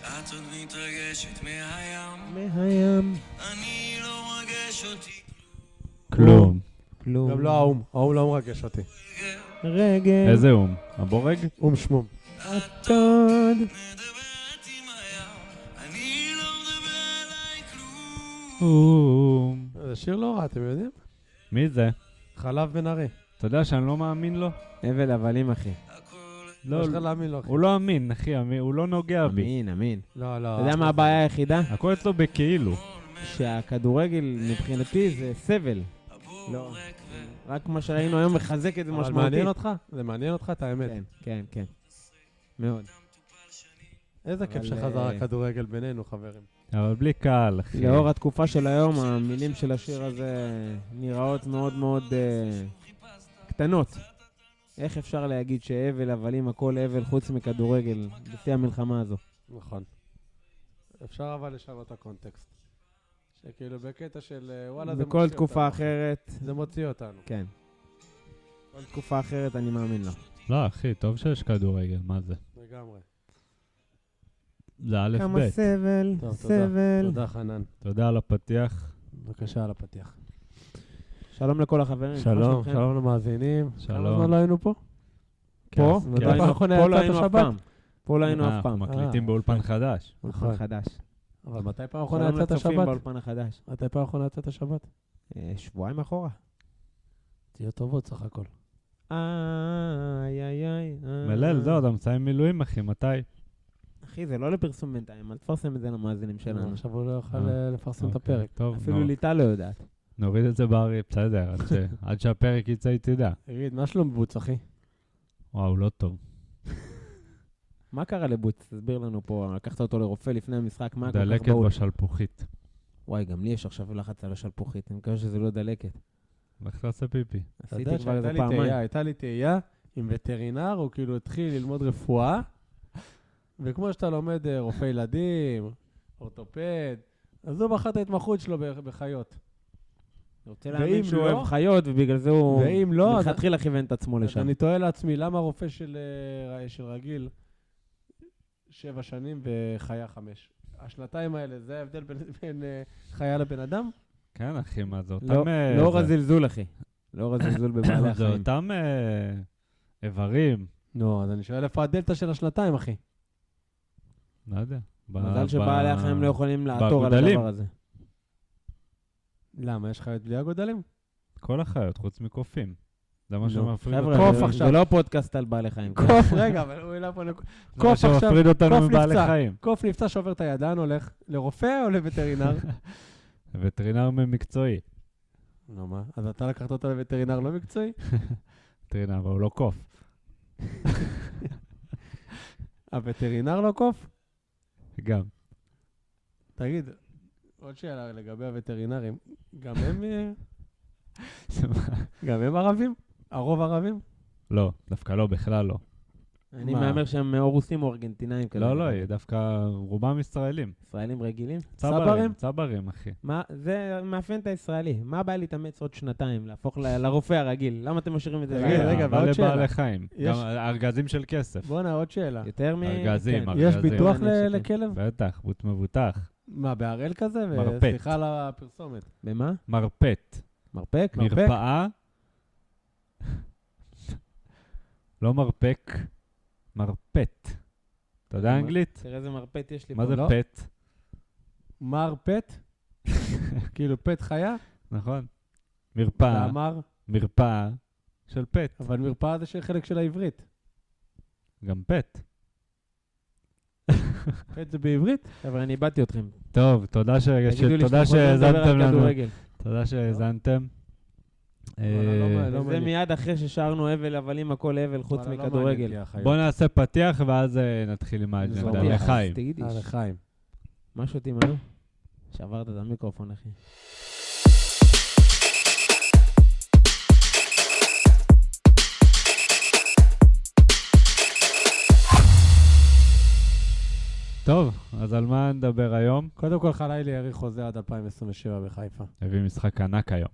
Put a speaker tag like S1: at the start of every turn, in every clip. S1: את עוד מתרגשת מהים,
S2: מהים.
S1: אני לא מרגש אותי
S3: כלום.
S2: כן. כלום.
S4: גם לא האו"ם, האו"ם לא מרגש אותי.
S2: רגל.
S3: איזה אום? הבורג?
S4: או"ם שמום.
S2: הטוד.
S1: מדברת עם הים, אני לא מדבר עליי כלום.
S3: אום.
S4: זה שיר לא רע, אתם יודעים?
S3: מי זה?
S4: חלב בן ארי.
S3: אתה יודע שאני לא מאמין לו?
S2: הבל הבלים, אחי.
S1: הכל
S3: לא,
S4: יש לך להאמין לו, אחי.
S3: הוא לא אמין, אחי, אמין- הוא לא
S4: אה,
S3: נוגע בי.
S2: אמין, אמין.
S4: לא, לא.
S2: אתה יודע מה הבעיה היחידה?
S3: הכל אצלו בכאילו.
S2: שהכדורגל מבחינתי זה סבל. לא. רק מה שראינו היום מחזק את זה
S4: אבל
S2: משמעותית.
S4: מעניין אותך? זה מעניין אותך את האמת.
S2: כן, כן, כן. מאוד.
S4: כן. איזה
S2: אבל,
S4: כיף שחזר
S2: אה,
S4: הכדורגל בינינו, חברים.
S3: אבל בלי קהל, אחי.
S2: לאור התקופה של היום, המילים של השיר הזה נראות מאוד מאוד אה, קטנות. איך אפשר להגיד שהבל הבלים הכל הבל חוץ מכדורגל לפי המלחמה הזו?
S4: נכון. אפשר אבל לשנות את הקונטקסט. שכאילו בקטע של אה, וואלה זה
S2: בכל
S4: מוציא
S2: תקופה
S4: אותנו.
S2: אחרת,
S4: זה מוציא אותנו.
S2: כן. בכל תקופה אחרת אני מאמין לו.
S3: לא, אחי, טוב שיש כדורגל, מה זה?
S4: לגמרי.
S2: כן.
S3: זה א'
S2: כמה
S3: ב'.
S2: סבל,
S4: טוב, תודה.
S2: סבל.
S4: תודה חנן.
S3: תודה על הפתיח.
S4: בבקשה על הפתיח.
S2: שלום לכל החברים. מה
S4: שלום,
S2: שלומכם?
S4: שלום למאזינים. כמה
S3: שלום.
S4: זמן לא היינו פה?
S2: פה?
S3: כן,
S2: מתי
S3: כן.
S4: היינו-
S2: האחרונה
S4: פה לא
S2: יצאת
S4: היינו אף
S2: שבת?
S4: פעם.
S2: פה לא היינו אף
S3: אנחנו
S2: פעם.
S3: מקליטים
S4: אה,
S3: באולפן חדש.
S4: נכון.
S2: אולפן חדש.
S4: אבל מתי פעם
S2: שלום
S4: אחרונה יצאת
S2: לצופים
S4: שבת?
S2: באולפן החדש.
S4: מתי פעם אחרונה יצאת שבת?
S2: אה, שבועיים אחורה.
S4: תהיו טובות סך הכל.
S2: איי, איי, איי. אה.
S3: מלל, לא, אתה מסיים מילואים, אחי, מתי?
S2: אחי, זה לא לפרסום בינתיים, אל תפרסם את זה למאזינים שלנו.
S4: עכשיו הוא לא יוכל
S3: אה.
S4: אה, לפרסם את
S3: אוקיי,
S4: הפרק.
S3: טוב,
S2: אפילו
S3: נו.
S2: ליטל לא יודעת.
S3: נוריד את זה בארי, בסדר, עד ש- עד שהפרק יצא היא תדע.
S4: תגיד, מה שלום בוץ, אחי?
S3: וואו, לא טוב.
S2: מה קרה לבוץ? תסביר לנו פה, לקחת אותו לרופא לפני המשחק, מה כל כך
S3: דלקת
S2: בהול?
S3: בשלפוחית.
S2: וואי, גם לי יש עכשיו לחץ על השלפוחית, אני מקווה שזה לא דלקת.
S3: לך תעשה פיפי.
S4: אתה יודע
S2: עשיתי
S4: שהייתה
S2: כבר איזה
S4: לי תהייה,
S2: פעמיים.
S4: הייתה לי תהייה עם וטרינר, הוא כאילו התחיל ללמוד רפואה, וכמו שאתה לומד אה, רופא ילדים, אורתופד, אז הוא בחר את ההתמחות שלו ב- בחיות.
S2: אני רוצה
S4: ואם
S2: להאמין שהוא
S4: לא-
S2: אוהב חיות, ובגלל זה הוא
S4: ואם לא, אז-
S2: מלכתחילה כיוון את עצמו
S4: אז
S2: לשם.
S4: אני תוהה לעצמי, למה רופא של אה, ר- של רגיל שבע שנים וחיה חמש? השנתיים האלה, זה ההבדל בין- בין אה, חיה לבן אדם?
S3: כן, אחי, מה זה?
S2: לא-
S3: אותם... אה,
S2: לאור
S3: זה-
S2: הזלזול, אחי.
S4: לא
S2: לאור הזלזול בבעלי
S3: זה
S2: החיים.
S3: אותם אה, איברים.
S4: נו, אז אני שואל איפה הדלתא של השנתיים, אחי?
S3: לא יודע. ב-
S2: מזל
S3: ב-
S2: שבעלי החיים לא יכולים לעתור על
S3: בגודלים.
S2: הדבר הזה.
S4: למה, יש חיות בלי הגודלים?
S3: כל החיות, חוץ מקופים. זה מה
S2: נו,
S3: שמפריד
S2: לא, חבר'ה,
S3: אותנו-
S4: קוף
S2: זה-
S4: עכשיו.
S2: זה לא פודקאסט על בעלי חיים.
S4: קוף, רגע, אבל הוא העלה פה נקודה.
S3: זה מה
S4: קוף עכשיו,
S3: שמפריד אותנו
S4: קוף
S3: מבעלי
S4: נפצע.
S3: חיים.
S4: קוף נפצע שובר את הידן, הולך לרופא או לווטרינר?
S3: וטרינר ממקצועי.
S4: נו מה, אז אתה לקחת אותו לווטרינר לא מקצועי?
S3: טרינר, אבל הוא לא קוף.
S4: הווטרינר לא קוף?
S3: גם.
S4: תגיד, עוד שאלה לגבי הווטרינרים, גם הם אה, גם הם ערבים? הרוב ערבים?
S3: לא, דווקא לא, בכלל לא.
S2: אני
S4: מה?
S2: מהמר שהם או רוסים או ארגנטינאים כאלה.
S3: לא, לא, דווקא רובם ישראלים.
S2: ישראלים רגילים?
S3: צברים? צברים, אחי.
S2: מה, זה מאפיין את הישראלי. מה הבעיה להתאמץ עוד שנתיים, להפוך ל- לרופא הרגיל? למה אתם משאירים את זה?
S4: רגע,
S2: לרגיל?
S4: רגע,
S3: אבל
S4: ועוד
S3: לבעלי
S4: שאלה.
S3: חיים.
S4: יש-
S3: גם ארגזים של כסף.
S4: בואנה, עוד שאלה.
S2: יותר מ...
S3: ארגזים,
S2: כן.
S3: ארגזים.
S4: יש ביטוח
S2: זה-
S4: ל-
S2: זה-
S4: לכלב?
S3: בטח, בוט מבוטח.
S4: מה, בהראל כזה? ו-
S3: מרפט.
S4: סליחה על הפרסומת.
S2: במה?
S3: מרפט.
S2: מרפק?
S3: מרפאה. לא מרפק, מרפט. אתה יודע
S2: מה-
S3: אנגלית?
S2: תראה איזה מרפט יש לי פה.
S3: מה זה
S4: לא.
S3: פט?
S4: מר פט? כאילו פט חיה?
S3: נכון. מרפאה,
S4: ואמר,
S3: מרפאה של פט.
S4: אבל מרפאה זה של חלק של העברית.
S3: גם פט.
S4: פט זה בעברית?
S2: חבר'ה, אני איבדתי אתכם.
S3: טוב, תודה ש- ש-
S2: תגידו לי
S3: תודה
S2: שאתם יכולים לדבר
S3: שהאזנתם
S2: על
S3: לנו.
S2: כדורגל. לא.
S3: תודה שהאזנתם.
S4: וואלה, לא
S3: אה,
S4: מעניין.
S2: זה מיד אחרי ששרנו הבל, הבלים, הכל הבל, חוץ
S4: וואלה, לא מעניין
S2: מכדורגל.
S4: אותי החיות.
S3: בוא נעשה פתיח ואז אה, נתחיל עם
S4: נזרום
S3: האג'נדה.
S4: יאללה,
S2: אז
S3: לחיים.
S2: תגידי,
S4: יאללה, חיים. אה,
S2: מה שותים היום? שברת את המיקרופון, אחי.
S3: טוב, אז על מה נדבר היום?
S4: קודם כל, חלילי ירי חוזה עד 2027 בחיפה.
S3: הביא משחק ענק היום.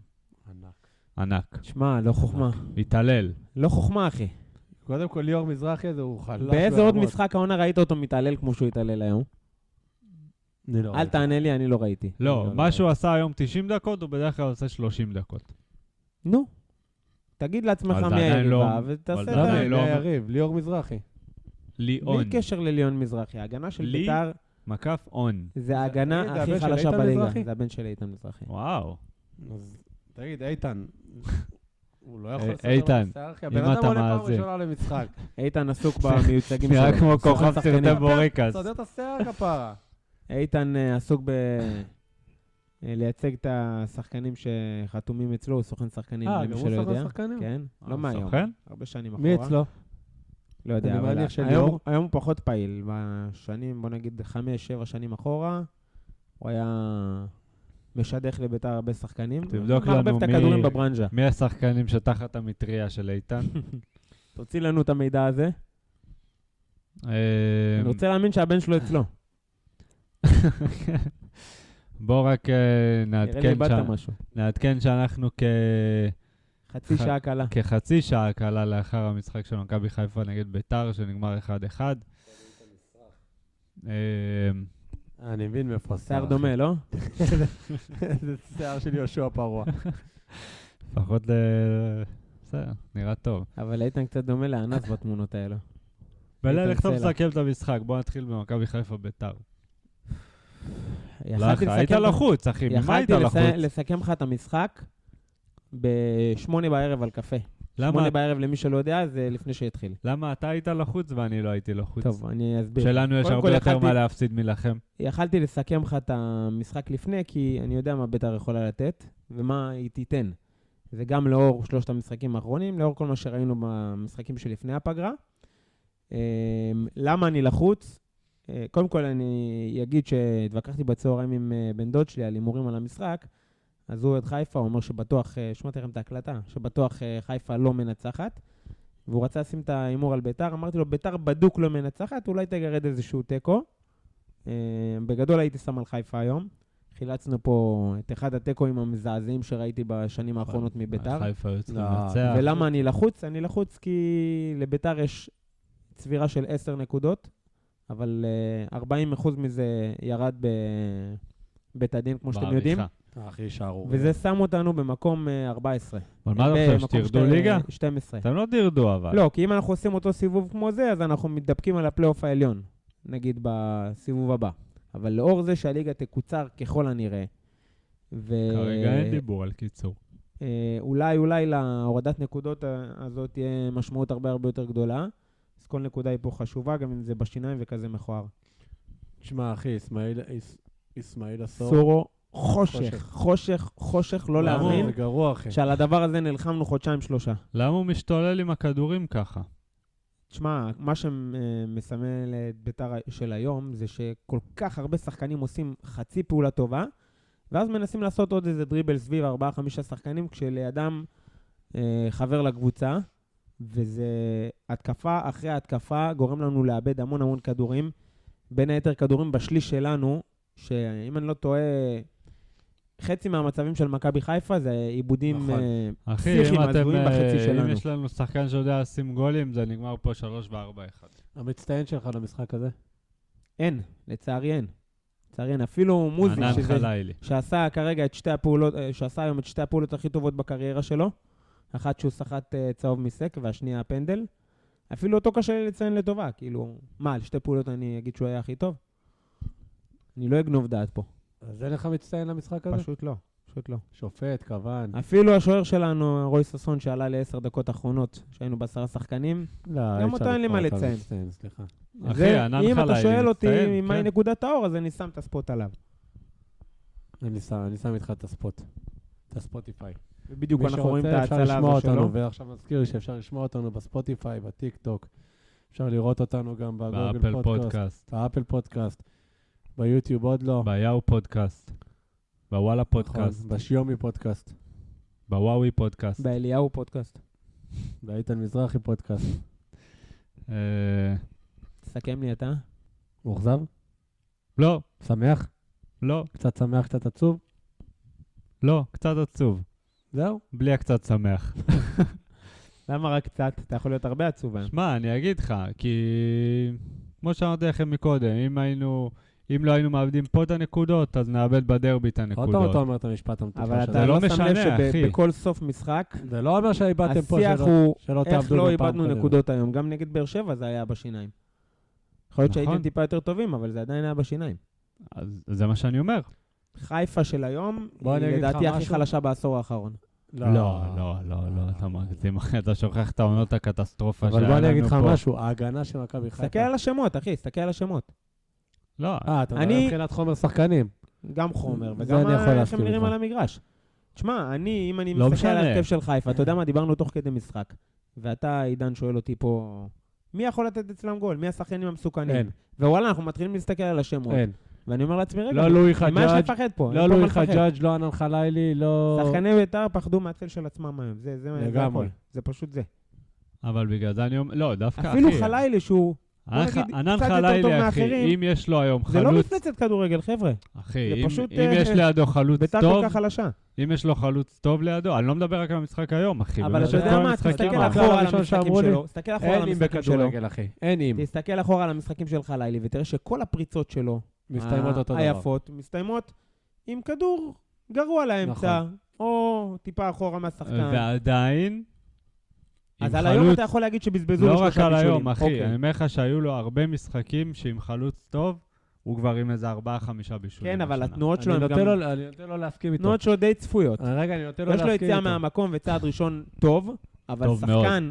S4: ענק.
S3: ענק.
S2: שמע, לא חוכמה.
S3: התעלל.
S2: לא חוכמה, אחי.
S4: קודם כל, ליאור מזרחי הזה הוא חלש.
S2: באיזה עוד
S4: ברמות.
S2: משחק העונה ראית אותו מתעלל כמו שהוא התעלל היום?
S4: אני לא
S2: אל
S4: ראיתי.
S2: תענה לי, אני לא ראיתי.
S3: לא,
S4: לא,
S3: מה
S4: לא.
S3: שהוא עשה היום 90 דקות, הוא בדרך כלל עושה 30 דקות.
S2: נו, תגיד לעצמך
S3: אבל זה
S2: מי
S3: עדיין לא-
S2: היריבה,
S3: אבל
S2: ותעשה את
S3: זה
S2: ה...
S3: עדיין
S4: למה?
S3: לא
S4: לא
S3: אומר-
S4: יריב, ליאור מזרחי.
S3: ליאון.
S2: בלי קשר לליון מזרחי, ההגנה של
S3: לי?
S2: בית"ר
S3: מקף און.
S2: זה
S4: תגיד,
S2: ההגנה
S4: זה
S2: הכי
S4: הבן של
S2: חלשה
S4: איתן
S2: בליגה.
S4: מזרחי?
S2: זה הבן של איתן מזרחי.
S3: וואו.
S4: אז תגיד, איתן, הוא לא יכול
S3: אה,
S4: לספר
S3: איתן,
S4: בסטרחי?
S3: אם
S4: הבן אדם
S3: אתה
S4: עולה פעם
S3: מאזין.
S4: ראשונה למשחק.
S2: איתן עסוק במיוצגים שלו.
S3: נראה כמו
S2: סוחר
S3: כוכב
S2: לא- שחקנים.
S3: סרטי בורקס.
S4: סדר את השיער כפרה.
S2: איתן אה, עסוק ב... אה, לייצג את השחקנים שחתומים אצלו, הוא סוכן שחקנים,
S4: אה,
S2: למי
S4: גם הוא
S2: שלא יודע.
S4: סוכן שחקנים?
S2: כן, לא
S3: אה,
S2: מהיום,
S3: סוכן?
S2: הרבה שנים אחורה.
S4: מי אצלו?
S2: לא יודע,
S4: אני
S2: אבל
S4: מניח שליאור-
S2: היום, היום הוא פחות פעיל. בשנים, בוא נגיד, חמש, שבע שנים אחורה, הוא היה משדך לביתר הרבה שחקנים.
S3: תבדוק לנו
S2: מערבב את
S3: מי-
S2: הכדורים בברנז'ה.
S3: מי השחקנים שתחת המטריה של איתן?
S2: תוציא לנו את המידע הזה.
S3: אה,
S2: אני רוצה להאמין שהבן שלו אצלו.
S3: בוא רק אה,
S2: נראה לי
S3: נעדכן
S2: איבדת
S3: שם-
S2: משהו.
S3: נעדכן שאנחנו כ-
S2: חצי
S3: ח- כן,
S2: שעה קלה.
S3: כחצי שעה קלה לאחר המשחק של מכבי חיפה נגד ביתר, שנגמר 1-1. אה,
S4: אני מבין מאיפה השיער.
S2: שיער דומה, לא?
S4: זה שיער של יהושע פרוע.
S3: לפחות ל- בסדר, נראה טוב.
S2: אבל איתן קצת דומה לאנס בתמונות האלו.
S3: לא,
S2: איתן
S3: ולכתוב
S2: סלע.
S3: לסכם את המשחק, בוא נתחיל במכבי חיפה ביתר. לא,
S2: יכלתי
S3: אחי, היית
S2: לסכם-
S3: לחוץ, אחי, כן, ממה היית
S2: יכלתי לסי-
S3: לחוץ?
S2: לסכם לך את המשחק בשמונה בערב על קפה.
S3: למה-
S2: שמונה בערב, למי שלא יודע, זה לפני שהתחיל.
S3: למה אתה היית לחוץ ואני לא הייתי לחוץ?
S2: טוב, אני אסביר.
S3: שלנו יש
S2: קודם כל
S3: הרבה יותר
S2: יכלתי-
S3: מה להפסיד מלכם.
S2: יכלתי לסכם לך את המשחק לפני, כי אני יודע מה בית"ר יכולה לתת ומה היא תיתן. זה גם לאור שלושת המשחקים האחרונים, לאור כל מה שראינו במשחקים שלפני הפגרה. אמ, למה אני לחוץ? אה, קודם כל אני אגיד שהתווכחתי בצהריים עם אה, בן דוד שלי על הימורים על המשחק, אז הוא אוהד חיפה, הוא אומר שבטוח, אה, שמעתי לכם את ההקלטה, שבטוח אה, חיפה לא מנצחת, והוא רצה לשים את ההימור על ביתר, אמרתי לו, ביתר בדוק לא מנצחת, אולי תגרד איזשהו תיקו. אה, בגדול הייתי שם על חיפה היום. חילצנו פה את אחד התיקואים המזעזעים שראיתי בשנים
S3: נכון.
S2: האחרונות מביתר.
S3: חיפה היו צריכים
S4: לא,
S3: לנצח.
S2: ולמה אני לחוץ? אני לחוץ כי לביתר יש צבירה של 10 נקודות, אבל אה, 40% מזה ירד בבית הדין, כמו שאתם יודעים,
S3: בעריכה.
S4: אחי, שערורייה.
S2: וזה שם אותנו במקום אה, 14.
S3: אבל מה אתה חושב,
S2: במקום
S3: שתרדו
S2: שתי-
S3: ליגה?
S2: 12.
S3: אתם לא תרדו אבל.
S2: לא, כי אם אנחנו עושים אותו סיבוב כמו זה, אז אנחנו מתדפקים על הפלייאוף העליון, נגיד בסיבוב הבא. אבל לאור זה שהליגה תקוצר ככל הנראה, ו-
S3: כרגע אין דיבור על קיצור.
S2: אה, אולי, אולי להורדת נקודות אה, הזאת תהיה משמעות הרבה הרבה יותר גדולה. אז כל נקודה היא פה חשובה, גם אם זה בשיניים וכזה מכוער.
S4: תשמע, אחי, אסמאעיל- אס- אסמאעיל עשור.
S2: סורו, חושך,
S4: חושך. כן.
S2: חושך, חושך, לא
S3: למה?
S2: להאמין
S4: זה גרוע, אחי.
S2: שעל הדבר הזה נלחמנו חודשיים-שלושה.
S3: למה הוא משתולל עם הכדורים ככה?
S2: תשמע, מה שמסמל את ביתר של היום זה שכל כך הרבה שחקנים עושים חצי פעולה טובה, ואז מנסים לעשות עוד איזה דריבל סביב 4-5 שחקנים, כשלידם אה, חבר לקבוצה, וזה התקפה אחרי התקפה, גורם לנו לאבד המון המון כדורים, בין היתר כדורים בשליש שלנו, שאם אני לא טועה, חצי מהמצבים של מכבי חיפה זה עיבודים...
S4: נכון.
S2: אה,
S3: אחי,
S2: פסיכים,
S3: אם אתם...
S2: הזויים בחצי
S3: אה, אם
S2: שלנו.
S3: יש לנו שחקן שיודע לשים גולים, זה נגמר פה 3 ו-4-1.
S4: המצטיין שלך למשחק הזה?
S2: אין, לצערי אין. לצערי אין. אפילו מוזי,
S3: ענן
S2: שזה
S3: חלילי.
S2: שעשה כרגע את שתי הפעולות, אה, שעשה היום את שתי הפעולות הכי טובות בקריירה שלו, אחת שהוא סחט אה, צהוב מסק והשנייה הפנדל, אפילו אותו קשה לי לציין לטובה, כאילו, מה, על שתי פעולות אני אגיד שהוא היה הכי טוב? אני לא אגנוב דעת פה,
S4: אז אין לך מצטיין למשחק הזה?
S2: פשוט לא, פשוט לא.
S4: שופט, כוון.
S2: אפילו השוער שלנו, רוי ששון, שעלה לעשר דקות אחרונות, שהיינו בעשרה שחקנים,
S4: לא,
S2: גם
S4: אי אפשר
S2: אותו אין לי מה
S4: לקרוא אותך
S2: לציין.
S4: מצטיין, סליחה.
S3: אחי,
S2: זה-
S3: ענן
S2: אם אתה
S3: חלילי
S2: שואל אותי
S3: מצטיין,
S2: מהי
S3: כן.
S2: נקודת האור, אז אני שם את הספוט עליו.
S4: אני שם- אני שם איתך את הספוט. את הספוטיפיי.
S2: ובדיוק
S4: מי
S2: אנחנו רואים את
S4: שרוצה, אפשר
S2: ההצלה
S4: לשמוע
S2: הזו שלו.
S4: אותנו, ועכשיו נזכיר שאפשר לשמוע אותנו בספוטיפיי, בטיקטוק. אפשר לראות אותנו גם בגוגל
S3: באפל
S4: פודקאסט,
S3: פודקאסט.
S4: באפל פודקאסט, ביוטיוב עוד לא.
S2: נכון.
S3: ביאו פודקאסט. בוואלה פודקאסט.
S4: נכון, בשיומי פודקאסט,
S3: בוואוי פודקאסט.
S2: באליהו פודקאסט.
S4: באיתן מזרחי פודקאסט.
S3: אה,
S2: תסכם לי אתה.
S4: מאוכזב?
S3: לא,
S4: שמח?
S3: לא,
S4: קצת שמח, קצת עצוב?
S3: לא, קצת עצוב.
S4: זהו.
S3: בלי הקצת שמח.
S2: למה רק קצת? אתה יכול להיות הרבה עצוב היום.
S3: שמע, אני אגיד לך, כי כמו שאמרתי לכם מקודם, אם היינו, אם לא היינו מאבדים פה את הנקודות, אז נאבד בדרבי את
S4: עוד פעם אתה
S3: הנקודות.
S4: אומר את המשפט המטופש
S2: אבל
S4: הזה.
S2: אתה
S3: לא
S2: לא שם
S3: משנה,
S2: לב
S3: אחי.
S2: שבכל סוף משחק,
S4: זה לא אומר שאיבדתם פה
S2: השיח
S4: שלא-
S2: הוא
S4: שלא
S2: איך
S4: תעבדו
S2: לא
S4: בפעם
S2: איבדנו
S4: הקודמת.
S2: נקודות היום? גם נגד באר שבע זה היה בשיניים. יכול להיות שהייתם
S3: נכון.
S2: טיפה יותר טובים, אבל זה עדיין היה בשיניים.
S3: אז זה מה שאני אומר.
S2: חיפה של היום,
S4: בוא
S2: היא
S4: אני אגיד לך
S2: לדעתי הכי
S4: משהו.
S2: חלשה בעשור האחרון.
S3: לא, לא, לא, לא, אתה מגזים, אחי, אתה שוכח את העונות הקטסטרופה
S4: אבל בוא אני אגיד לך
S3: פה.
S4: משהו, ההגנה של מכבי חיפה.
S2: תסתכל על השמות, אחי, תסתכל על השמות.
S3: לא,
S4: אה, אתה מדבר
S2: אני-
S4: מבחינת חומר שחקנים.
S2: גם חומר,
S4: זה
S2: וגם
S4: אני יכול
S2: ה- איך
S4: להסכים
S2: הם נראים
S4: איתך.
S2: על המגרש. תשמע, אני, אם אני
S3: לא
S2: מסתכל על
S3: משנה.
S2: ההרכב של חיפה, אתה יודע
S4: אה.
S2: מה, דיברנו תוך כדי משחק. ואתה, עידן, שואל אותי פה, מי יכול לתת אצלם גול? מי השחקנים המסוכנים?
S4: אין,
S2: ווואלה, אנחנו מתחילים להסתכל על השמות.
S4: אין.
S2: ואני אומר לעצמי, רגע,
S4: אה. לא לואי
S2: ממה יש
S4: חג'אג',
S2: לפחד פה? אין
S4: לא
S2: פה מה
S4: לואי
S2: לפחד.
S4: חג'אג', לא ענן חלילי, לא...
S2: שחקני בית"ר פחדו מהצל של עצמם היום, זה- זה זה
S4: לגמרי.
S2: הכל. זה פשוט זה.
S3: אבל בגלל זה אני אומר, לא, דווקא, אחי.
S2: אפילו חלילי שהוא, בוא
S3: ענן ח-
S2: נגיד,
S3: ענן
S2: קצת יותר טוב
S3: חלילי,
S2: מאחרים.
S3: אחי, אם יש לו היום
S2: זה לא
S3: חלוץ,
S2: מפלצת כדורגל, חבר'ה.
S3: אחי,
S2: זה
S3: אם
S2: פשוט,
S3: אם
S2: אה,
S3: יש לידו חלוץ
S2: בית"ר כל
S3: טוב,
S2: כך חלשה.
S3: אם יש לו חלוץ טוב לידו, אני לא מדבר רק על המשחק היום, אחי.
S4: כאילו,
S2: אבל
S4: לא,
S3: באמת,
S2: אתה יודע
S3: כל
S2: מה,
S3: המשחקים
S2: תסתכל
S3: האלה.
S4: אחורה
S2: אחורה על
S4: הראשון
S2: המשחקים
S4: שאמרו לי,
S2: שלו, תסתכל אחורה על
S4: אין אם
S2: המשחקים שלו.
S4: בכדורגל, אחי. אין אם.
S2: תסתכל אחורה על המשחקים של חלילי, ותראה שכל הפריצות שלו,
S4: מסתיימות
S2: ה-
S4: אותו דבר.
S2: היפות, מסתיימות עם כדור גרוע לאמצע,
S4: נכון.
S2: או טיפה אחורה
S4: אה,
S2: מהשחקן.
S3: ועדיין,
S2: אז
S3: עם
S2: על היום
S3: חלוץ,
S2: אתה יכול להגיד שבזבזו לו
S3: לא רק
S2: שלושה
S3: על
S2: בישולים.
S3: היום, אחי.
S2: אוקיי.
S3: אני אומר לך שהיו לו הרבה משחקים שעם חלוץ טוב, הוא כבר עם איזה ארבעה-חמישה בישולים.
S2: כן, אבל
S3: השנה.
S2: התנועות שלו
S4: אני
S2: הן
S4: נותן
S2: גם
S4: לו- אני נותן לו להסכים איתו.
S2: תנועות שלו די צפויות.
S4: אה, רגע, אני נותן לו
S2: יש
S4: להסכים
S2: לו
S4: איתו.
S2: יציאה מהמקום וצעד ראשון טוב, אבל
S3: טוב
S2: שחקן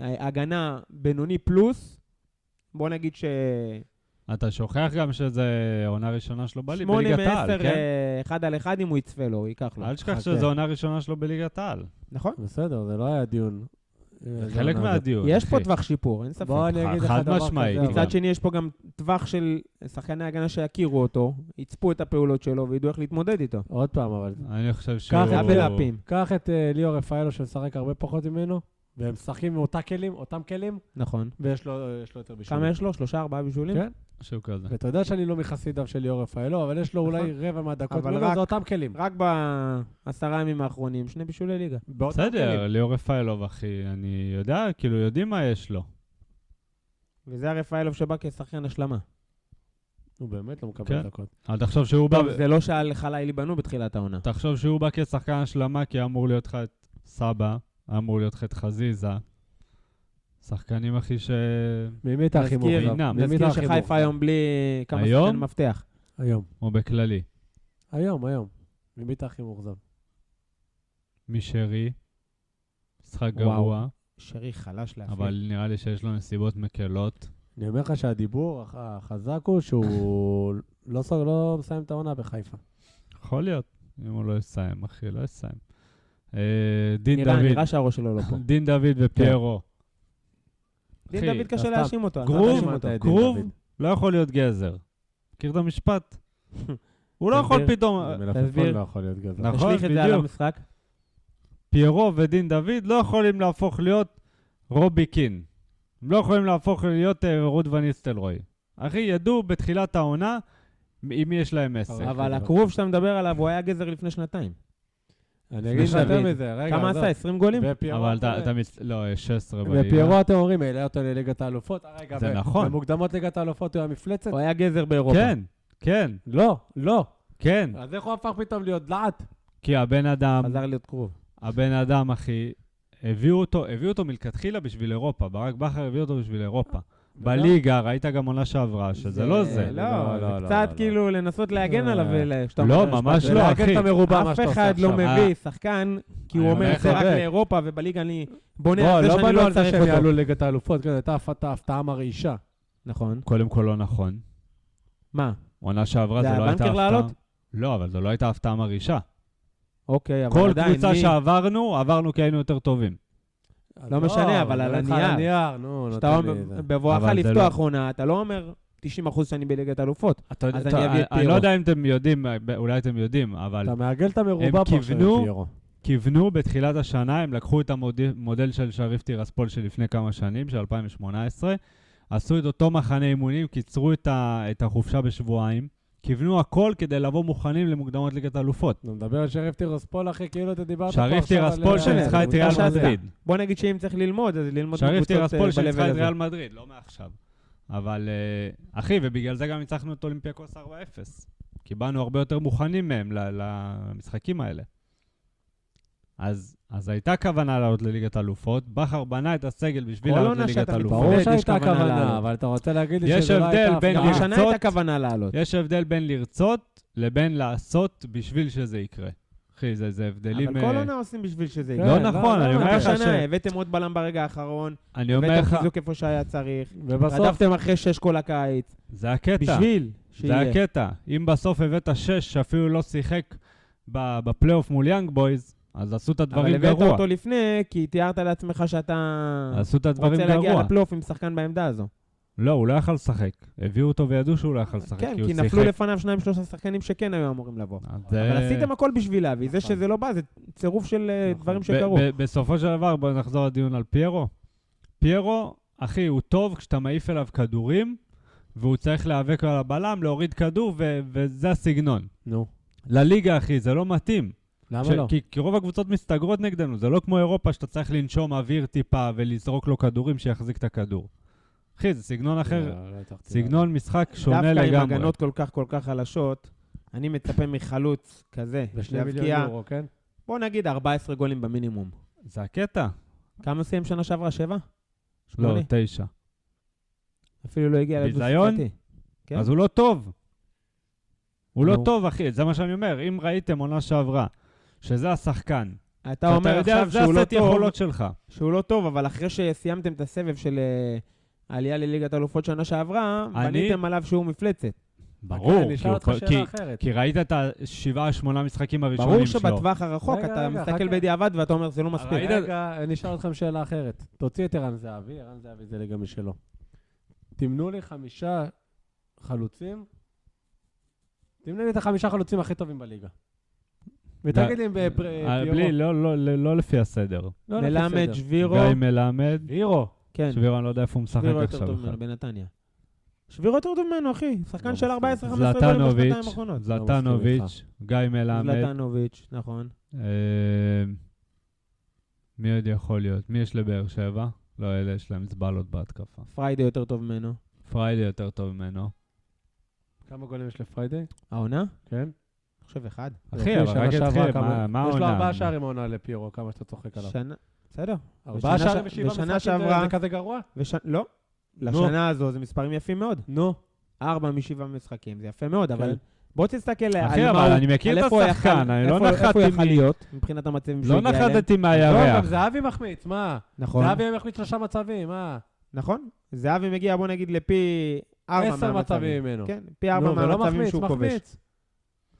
S2: אה, הגנה בינוני פלוס, בוא נגיד ש...
S3: אתה שוכח גם שזה עונה ראשונה שלו בלי-
S2: שמונה
S3: בליגת העל,
S2: מעשר,
S3: כן?
S2: אה, אחד על אחד, אם הוא יצפה לו, הוא ייקח לו. אה,
S3: אל תשכח
S4: חכה.
S3: שזו עונה ראשונה שלו בליגת העל.
S2: נכון?
S4: בסדר, זה לא היה דיון. אה,
S3: זה חלק מהדיון,
S2: יש
S3: לא, אחי.
S2: פה טווח שיפור, אין ספק.
S4: בוא אני אגיד לך
S3: חד
S4: דבר
S3: משמעית.
S4: כזה. אבל-
S2: מצד שני, יש פה גם טווח של שחקני הגנה שיכירו אותו, יצפו את הפעולות שלו וידעו איך להתמודד איתו.
S3: כן.
S4: עוד פעם, אבל...
S2: אה.
S3: אני חושב שהוא...
S2: זה הבלאפים,
S4: קח את אה, ליאור רפאלו שמשחק הרבה פחות ממנו, והם משחקים עם אותה כלים, אותם כלים,
S2: נכון.
S4: ויש לו אה, יש לו יותר בישולים.
S2: כמה יש לו? שלושה, ארבעה בישולים?
S4: כן.
S3: שהוא כזה.
S4: ואתה יודע שאני לא מחסידיו של ליאור רפאלו, אבל יש לו אולי רבע מהדקות
S2: נכון. אבל
S4: ממנו,
S2: רק-
S4: זה אותם כלים.
S2: רק בעשרה ימים האחרונים, שני בישולי ליגה.
S4: באותם
S3: בסדר,
S4: כלים.
S3: ליאור רפאלוב, אחי, אני יודע, כאילו, יודעים מה יש לו.
S2: וזה הרפאלוב שבא כשחקן השלמה.
S4: הוא באמת לא מקבל
S3: כן.
S4: דקות.
S3: אבל תחשוב שהוא בא...
S2: טוב, זה לא שעל חלילי בנו בתחילת העונה.
S3: תחשוב שהוא בא כשחקן השלמה, כי אמור להיות לך את סבא, אמור להיות לך את חזיזה. שחקנים, אחי, ש...
S4: ממי אתה הכי
S2: נזכיר-
S4: מוריד?
S3: נזכיר
S4: ממי אתה
S2: נזכיר
S4: הכי
S2: שחיפה
S4: מוריד?
S2: היום בלי כמה
S3: היום?
S2: שחקן מפתח.
S4: היום.
S3: או בכללי,
S4: היום, היום. ממי אתה הכי מאוכזב?
S3: משרי, משחק
S2: וואו.
S3: גרוע,
S2: שרי חלש להפעיל.
S3: אבל נראה לי שיש לו נסיבות מקלות.
S4: אני אומר לך שהדיבור הח- החזק הוא שהוא לא סוג- לא מסיים את העונה בחיפה.
S3: יכול להיות, אם הוא לא יסיים, אחי, לא יסיים. אה, דין
S2: נראה,
S3: דוד,
S2: נראה שהראש שלו לא פה.
S3: דין דוד ופיירו.
S2: כן. דין
S3: אחי,
S2: דוד קשה
S4: סתם.
S2: להאשים אותו. אז
S3: גרוב,
S2: אל תאשים אותו.
S4: שמעת את דין
S3: כרוב
S4: דוד.
S3: לא יכול להיות גזר. מכיר את המשפט? הוא לא יכול
S2: תסביר.
S3: פתאום...
S4: זה מלפפון
S2: תסביר.
S4: לא יכול להיות גזר.
S3: נכון.
S2: תשליך את זה על
S3: בדיוק.
S2: המשחק.
S3: פיירו ודין דוד לא יכולים להפוך להיות רובי קין. הם לא יכולים להפוך להיות אה, רות וניסטלרוי. אחי, ידעו בתחילת העונה עם מי יש להם עסק.
S4: אבל-
S2: אבל
S4: כן.
S2: הכרוב שאתה מדבר עליו, הוא היה גזר לפני שנתיים.
S4: אני אגיד לך יותר
S2: דוד.
S4: מזה, רגע.
S2: כמה
S4: עזוב.
S2: עשה? 20 גולים?
S4: ופיירו
S3: אבל
S4: אתה-
S3: אתה, אתה מצ... לא, יש 16 בליגה.
S4: ופיירו אתם אומרים, העלה אותו לליגת האלופות. אה, רגע,
S3: זה
S4: ב-
S3: נכון.
S4: במוקדמות ליגת האלופות הוא היה מפלצת?
S2: הוא היה גזר באירופה.
S3: כן, כן,
S4: לא, לא.
S3: כן.
S4: אז איך הוא הפך פתאום להיות דעת?
S3: כי הבן אדם,
S2: חזר להיות כרוב.
S3: הבן אדם, אחי, הביאו אותו, הביאו אותו מלכתחילה בשביל אירופה. ברק בכר הביא אותו בשביל אירופה. בליגה, ראית גם עונה שעברה, שזה לא זה.
S4: לא-
S2: לא,
S4: לא,
S2: זה
S4: לא,
S2: קצת
S4: לא,
S2: כאילו לנסות להגן
S4: אה.
S2: עליו. ול- שאתה
S3: לא,
S2: אומר,
S3: ממש
S2: שאתה-
S3: לא,
S4: ולעגן
S3: אחי. אה.
S4: את המרובע, מה
S2: אף
S4: שאתה עושה
S2: אחד לא
S4: עכשיו.
S2: מביא שחקן, כי הוא
S3: אני
S2: אומר,
S3: אומר
S2: זה
S3: לך,
S2: רק
S4: צודק.
S2: לאירופה, ובליגה אני בונה
S4: בוא,
S2: על זה
S4: לא
S2: שאני
S4: באנו
S2: לא
S4: על זה
S2: אצרף
S4: שהם
S2: אותו.
S4: יעלו ליגת האלופות, כן, הייתה הפת- הפתעה מרעישה.
S2: נכון.
S3: קודם כל לא נכון.
S2: מה?
S3: עונה שעברה
S2: זה
S3: זה לא
S2: היה
S3: הייתה
S2: בנקר
S3: הפתעה.
S2: לעלות?
S3: לא, אבל זו לא הייתה הפתעה מרעישה.
S2: אוקיי, אבל
S3: כל
S2: עדיין,
S3: קבוצה
S2: מי-
S3: שעברנו, עברנו כי היינו יותר טובים.
S4: אז
S2: לא משנה, אבל על
S4: אני אומר לך
S2: הנייר.
S4: הנייר, נו,
S2: שאתה
S4: נותן
S2: אומר,
S4: לי... זה.
S2: בבואך
S3: אבל זה
S2: לפתוח עונה, אתה לא אומר 90% שאני בליגת אלופות.
S3: אתה
S2: יודע-
S3: יודע,
S2: אני אביא את
S3: אני
S2: פירו.
S3: לא יודע אם אתם יודעים, אולי אתם יודעים, אבל
S4: אתה מעגל את המרובע
S3: הם
S4: פה עכשיו,
S3: כיוונו-
S4: פיירו.
S3: כיוונו בתחילת השנה, הם לקחו את המודל של שריף טירספול של לפני כמה שנים, של 2018, עשו את אותו מחנה אימונים, קיצרו את, ה, את החופשה בשבועיים, כיוונו הכל כדי לבוא מוכנים למוקדמות ליגת אלופות.
S4: אתה מדבר על שריף טירוספול, אחי, כאילו אתה דיברת פה
S3: שריף
S4: עכשיו על-
S3: טירספול
S2: של-
S3: שניצחה את
S2: אה,
S3: ריאל
S2: אה,
S3: מדריד.
S2: בוא נגיד שאם צריך ללמוד, אז ללמוד
S3: שריף
S2: מקבוצות, אה,
S3: טירספול שניצחה
S2: ב-level
S3: את
S2: הזה.
S3: ריאל מדריד, לא מעכשיו. אבל, אה, אחי, ובגלל זה גם ניצחנו את אולימפיאקוס 4-0. כי באנו הרבה יותר מוכנים מהם ל- למשחקים האלה. אז, אז הייתה כוונה לעלות לליגת אלופות, בכר בנה את הסגל בשביל
S2: כל
S3: לעלות
S2: עונה
S3: לליגת
S2: שאתה
S3: אלופות.
S2: מתמודד,
S4: ברור
S2: יש
S4: שהייתה
S2: כוונה
S4: כוונה,
S2: לעלות.
S4: אבל אתה רוצה להגיד לי
S3: יש
S4: שזה לא
S3: הבדל
S4: הייתה
S3: בין
S2: גם
S4: הפתעה?
S2: השנה
S3: לרצות-
S2: הייתה כוונה לעלות.
S3: יש הבדל בין לרצות לבין לעשות בשביל שזה יקרה. אחי, זה, זה הבדלים...
S2: אבל כל
S3: אה,
S2: עונה עושים בשביל שזה
S4: כן,
S2: יקרה.
S3: לא
S4: לא,
S3: נכון,
S4: לא,
S3: אני
S4: גם
S3: אומר לך ש...
S2: השנה הבאתם עוד בלם ברגע האחרון,
S3: אני אומר
S2: הבאתם
S3: לך,
S2: חיזוק איפה שהיה צריך,
S4: ובסוף,
S2: רדפתם אחרי שש כל הקיץ,
S3: זה הקטע.
S2: בשביל
S3: זה כן,
S2: שיהיה.
S3: הקטע. אם בסוף הבאת שש שאפילו לא שיחק ב- בפלייאוף מול יאנג בויז, אז עשו את
S2: אבל
S3: הדברים
S2: הבאת
S3: גרוע.
S2: אותו לפני, כי תיארת לעצמך שאתה
S3: עשו את הדברים
S2: רוצה להגיע
S3: גרוע.
S2: לפלייאוף עם שחקן בעמדה הזו.
S3: לא, הוא לא יכל לשחק. הביאו אותו וידעו שהוא לא יכל לשחק,
S2: כן,
S3: הוא
S2: כי
S3: שיחק.
S2: נפלו לפניו שניים שלושה שחקנים שכן היו אמורים לבוא.
S3: אז,
S2: אבל
S3: אה,
S2: עשיתם הכל בשביל להביא, זה
S4: נכון.
S2: שזה לא בא, זה צירוף של אה,
S4: נכון.
S2: דברים
S3: ב-
S2: שקרו.
S3: ב- בסופו של דבר, בואו נחזור לדיון על פיירו. פיירו, אחי, הוא טוב כשאתה מעיף אליו כדורים, והוא צריך להיאבק על הבלם, להוריד כדור, ו- וזה הסגנון.
S4: נו,
S3: לליגה, אחי, זה לא מתאים. ש-
S4: למה לא?
S3: כי, כי רוב הקבוצות מסתגרות נגדנו, זה לא כמו אירופה שאתה צריך לנשום אוויר טיפה ולזרוק לו כדורים שיחזיק את הכדור. אחי, זה סגנון אחר,
S4: לא, לא הצלחתי
S3: סגנון משחק שונה
S2: דווקא עם
S3: לגמרי.
S2: הגנות כל כך כל כך חלשות, אני מצפה מחלוץ כזה,
S4: להבין. בשני מיליון
S2: להבקיע,
S4: יורו, כן?
S2: בוא נגיד 14 גולים במינימום.
S3: זה הקטע.
S2: כמה סיים שנה שעברה? שבע?
S3: לא,
S2: שמונה?
S3: תשע.
S2: אפילו לא הגיע
S3: ביזיון?
S2: לדו-ספרתי. כן.
S3: אז הוא לא טוב. הוא לא
S2: נו.
S3: טוב, אחי, זה מה שאני אומר. אם ראיתם עונה שעברה, שזה השחקן,
S2: אתה אומר עכשיו
S3: זה
S2: שהוא לא
S3: הסט
S2: טוב,
S3: יכולות שלך.
S2: שהוא לא טוב, אבל אחרי שסיימתם את הסבב של אה, העלייה לליגת אלופות שנה שעברה,
S3: אני-
S2: בניתם עליו שהוא מפלצת.
S4: רגע, אני
S3: ברור, כי
S4: אשאל
S3: הוא
S4: אותך
S3: כל- כי-
S4: שאלה אחרת.
S3: כי ראית את השבעה, שמונה משחקים
S2: ברור
S3: הראשונים שלו.
S2: שבטווח הרחוק
S4: רגע, רגע,
S2: אתה מסתכל
S4: חכה.
S2: בדיעבד ואתה אומר, זה לא מספיק.
S3: ראית-
S4: רגע, אני אשאל אתכם שאלה אחרת. תוציא את ערן זהבי, ערן זהבי זה ליגה משלו. תמנו לי חמישה חלוצים, תמנו לי את החמישה חלוצים הכי טובים בליגה. ותגיד לי אם בפר-
S3: אה,
S4: פיורו.
S3: בלי, לא- לא- לא לא לפי הסדר.
S4: לא, לא,
S2: מלמד,
S4: בסדר.
S2: שבירו,
S3: גיא מלמד,
S4: שבירו.
S2: כן,
S3: שבירו, אני לא יודע איפה הוא משחק
S2: שבירו יותר
S3: עכשיו
S2: טוב
S3: בכלל.
S2: ממנו בנתניה. שבירו יותר טוב ממנו, אחי. שחקן
S4: לא
S2: של 14-15
S4: מסכים.
S2: גולים בשנתיים
S3: זלטנוביץ',
S2: האחרונות.
S3: זלטנוביץ', גיא מלמד,
S2: זלטנוביץ', נכון.
S3: אה, מי עוד יכול להיות? מי יש לבאר שבע? לא, אלה יש להם זבלות בהתקפה.
S2: פריידי יותר טוב ממנו.
S3: פריידי יותר טוב ממנו.
S4: כמה גולים יש לפריידי?
S2: העונה?
S4: כן.
S2: אני חושב אחד.
S3: אחי, אבל
S4: שנה
S3: רק
S4: שעברה
S3: התחיל,
S4: כמה-
S3: מה- מה העונה?
S4: יש לו ארבעה שערים העונה לפירו, כמה שאתה צוחק עליו.
S2: שנה... בסדר.
S4: ארבעה
S2: ושנה
S4: שערים
S2: ש-
S4: ושבעה
S2: ושנה
S4: משחקים, זה-
S2: שעברה-
S4: זה כזה גרוע?
S2: וש... לא.
S4: נו.
S2: לשנה הזו זה מספרים יפים מאוד.
S4: נו.
S2: ארבע משבעה משחקים, זה יפה מאוד, אבל
S4: כן.
S2: בוא תסתכל על
S3: אחי,
S2: מה
S3: אבל
S2: הוא-
S3: אני מכיר
S2: על
S3: את
S2: אה, איפה הוא
S3: השחקן,
S2: יכל-
S3: אני לא
S2: איפה- איפה הוא
S3: נחתתי
S2: יכול
S3: מ-
S2: להיות מבחינת המצבים שהוא
S3: לא
S2: הגיע אליהם.
S3: נחתתי
S4: לא, גם
S3: מהירח.
S4: זהבי מחמיץ, מה?
S2: נכון,
S4: זהבי מחמיץ שלושה מצבים, אה? מה?
S2: נכון. זהבי מגיע, בוא נגיד, לפי ארבע
S4: עשר
S2: מהמצבים.
S4: מצבים ממנו.
S2: כן, פי ארבע
S4: נו, ולא
S2: מהמצבים
S4: מחמיץ,
S2: שהוא
S4: מחמיץ.
S2: כובש.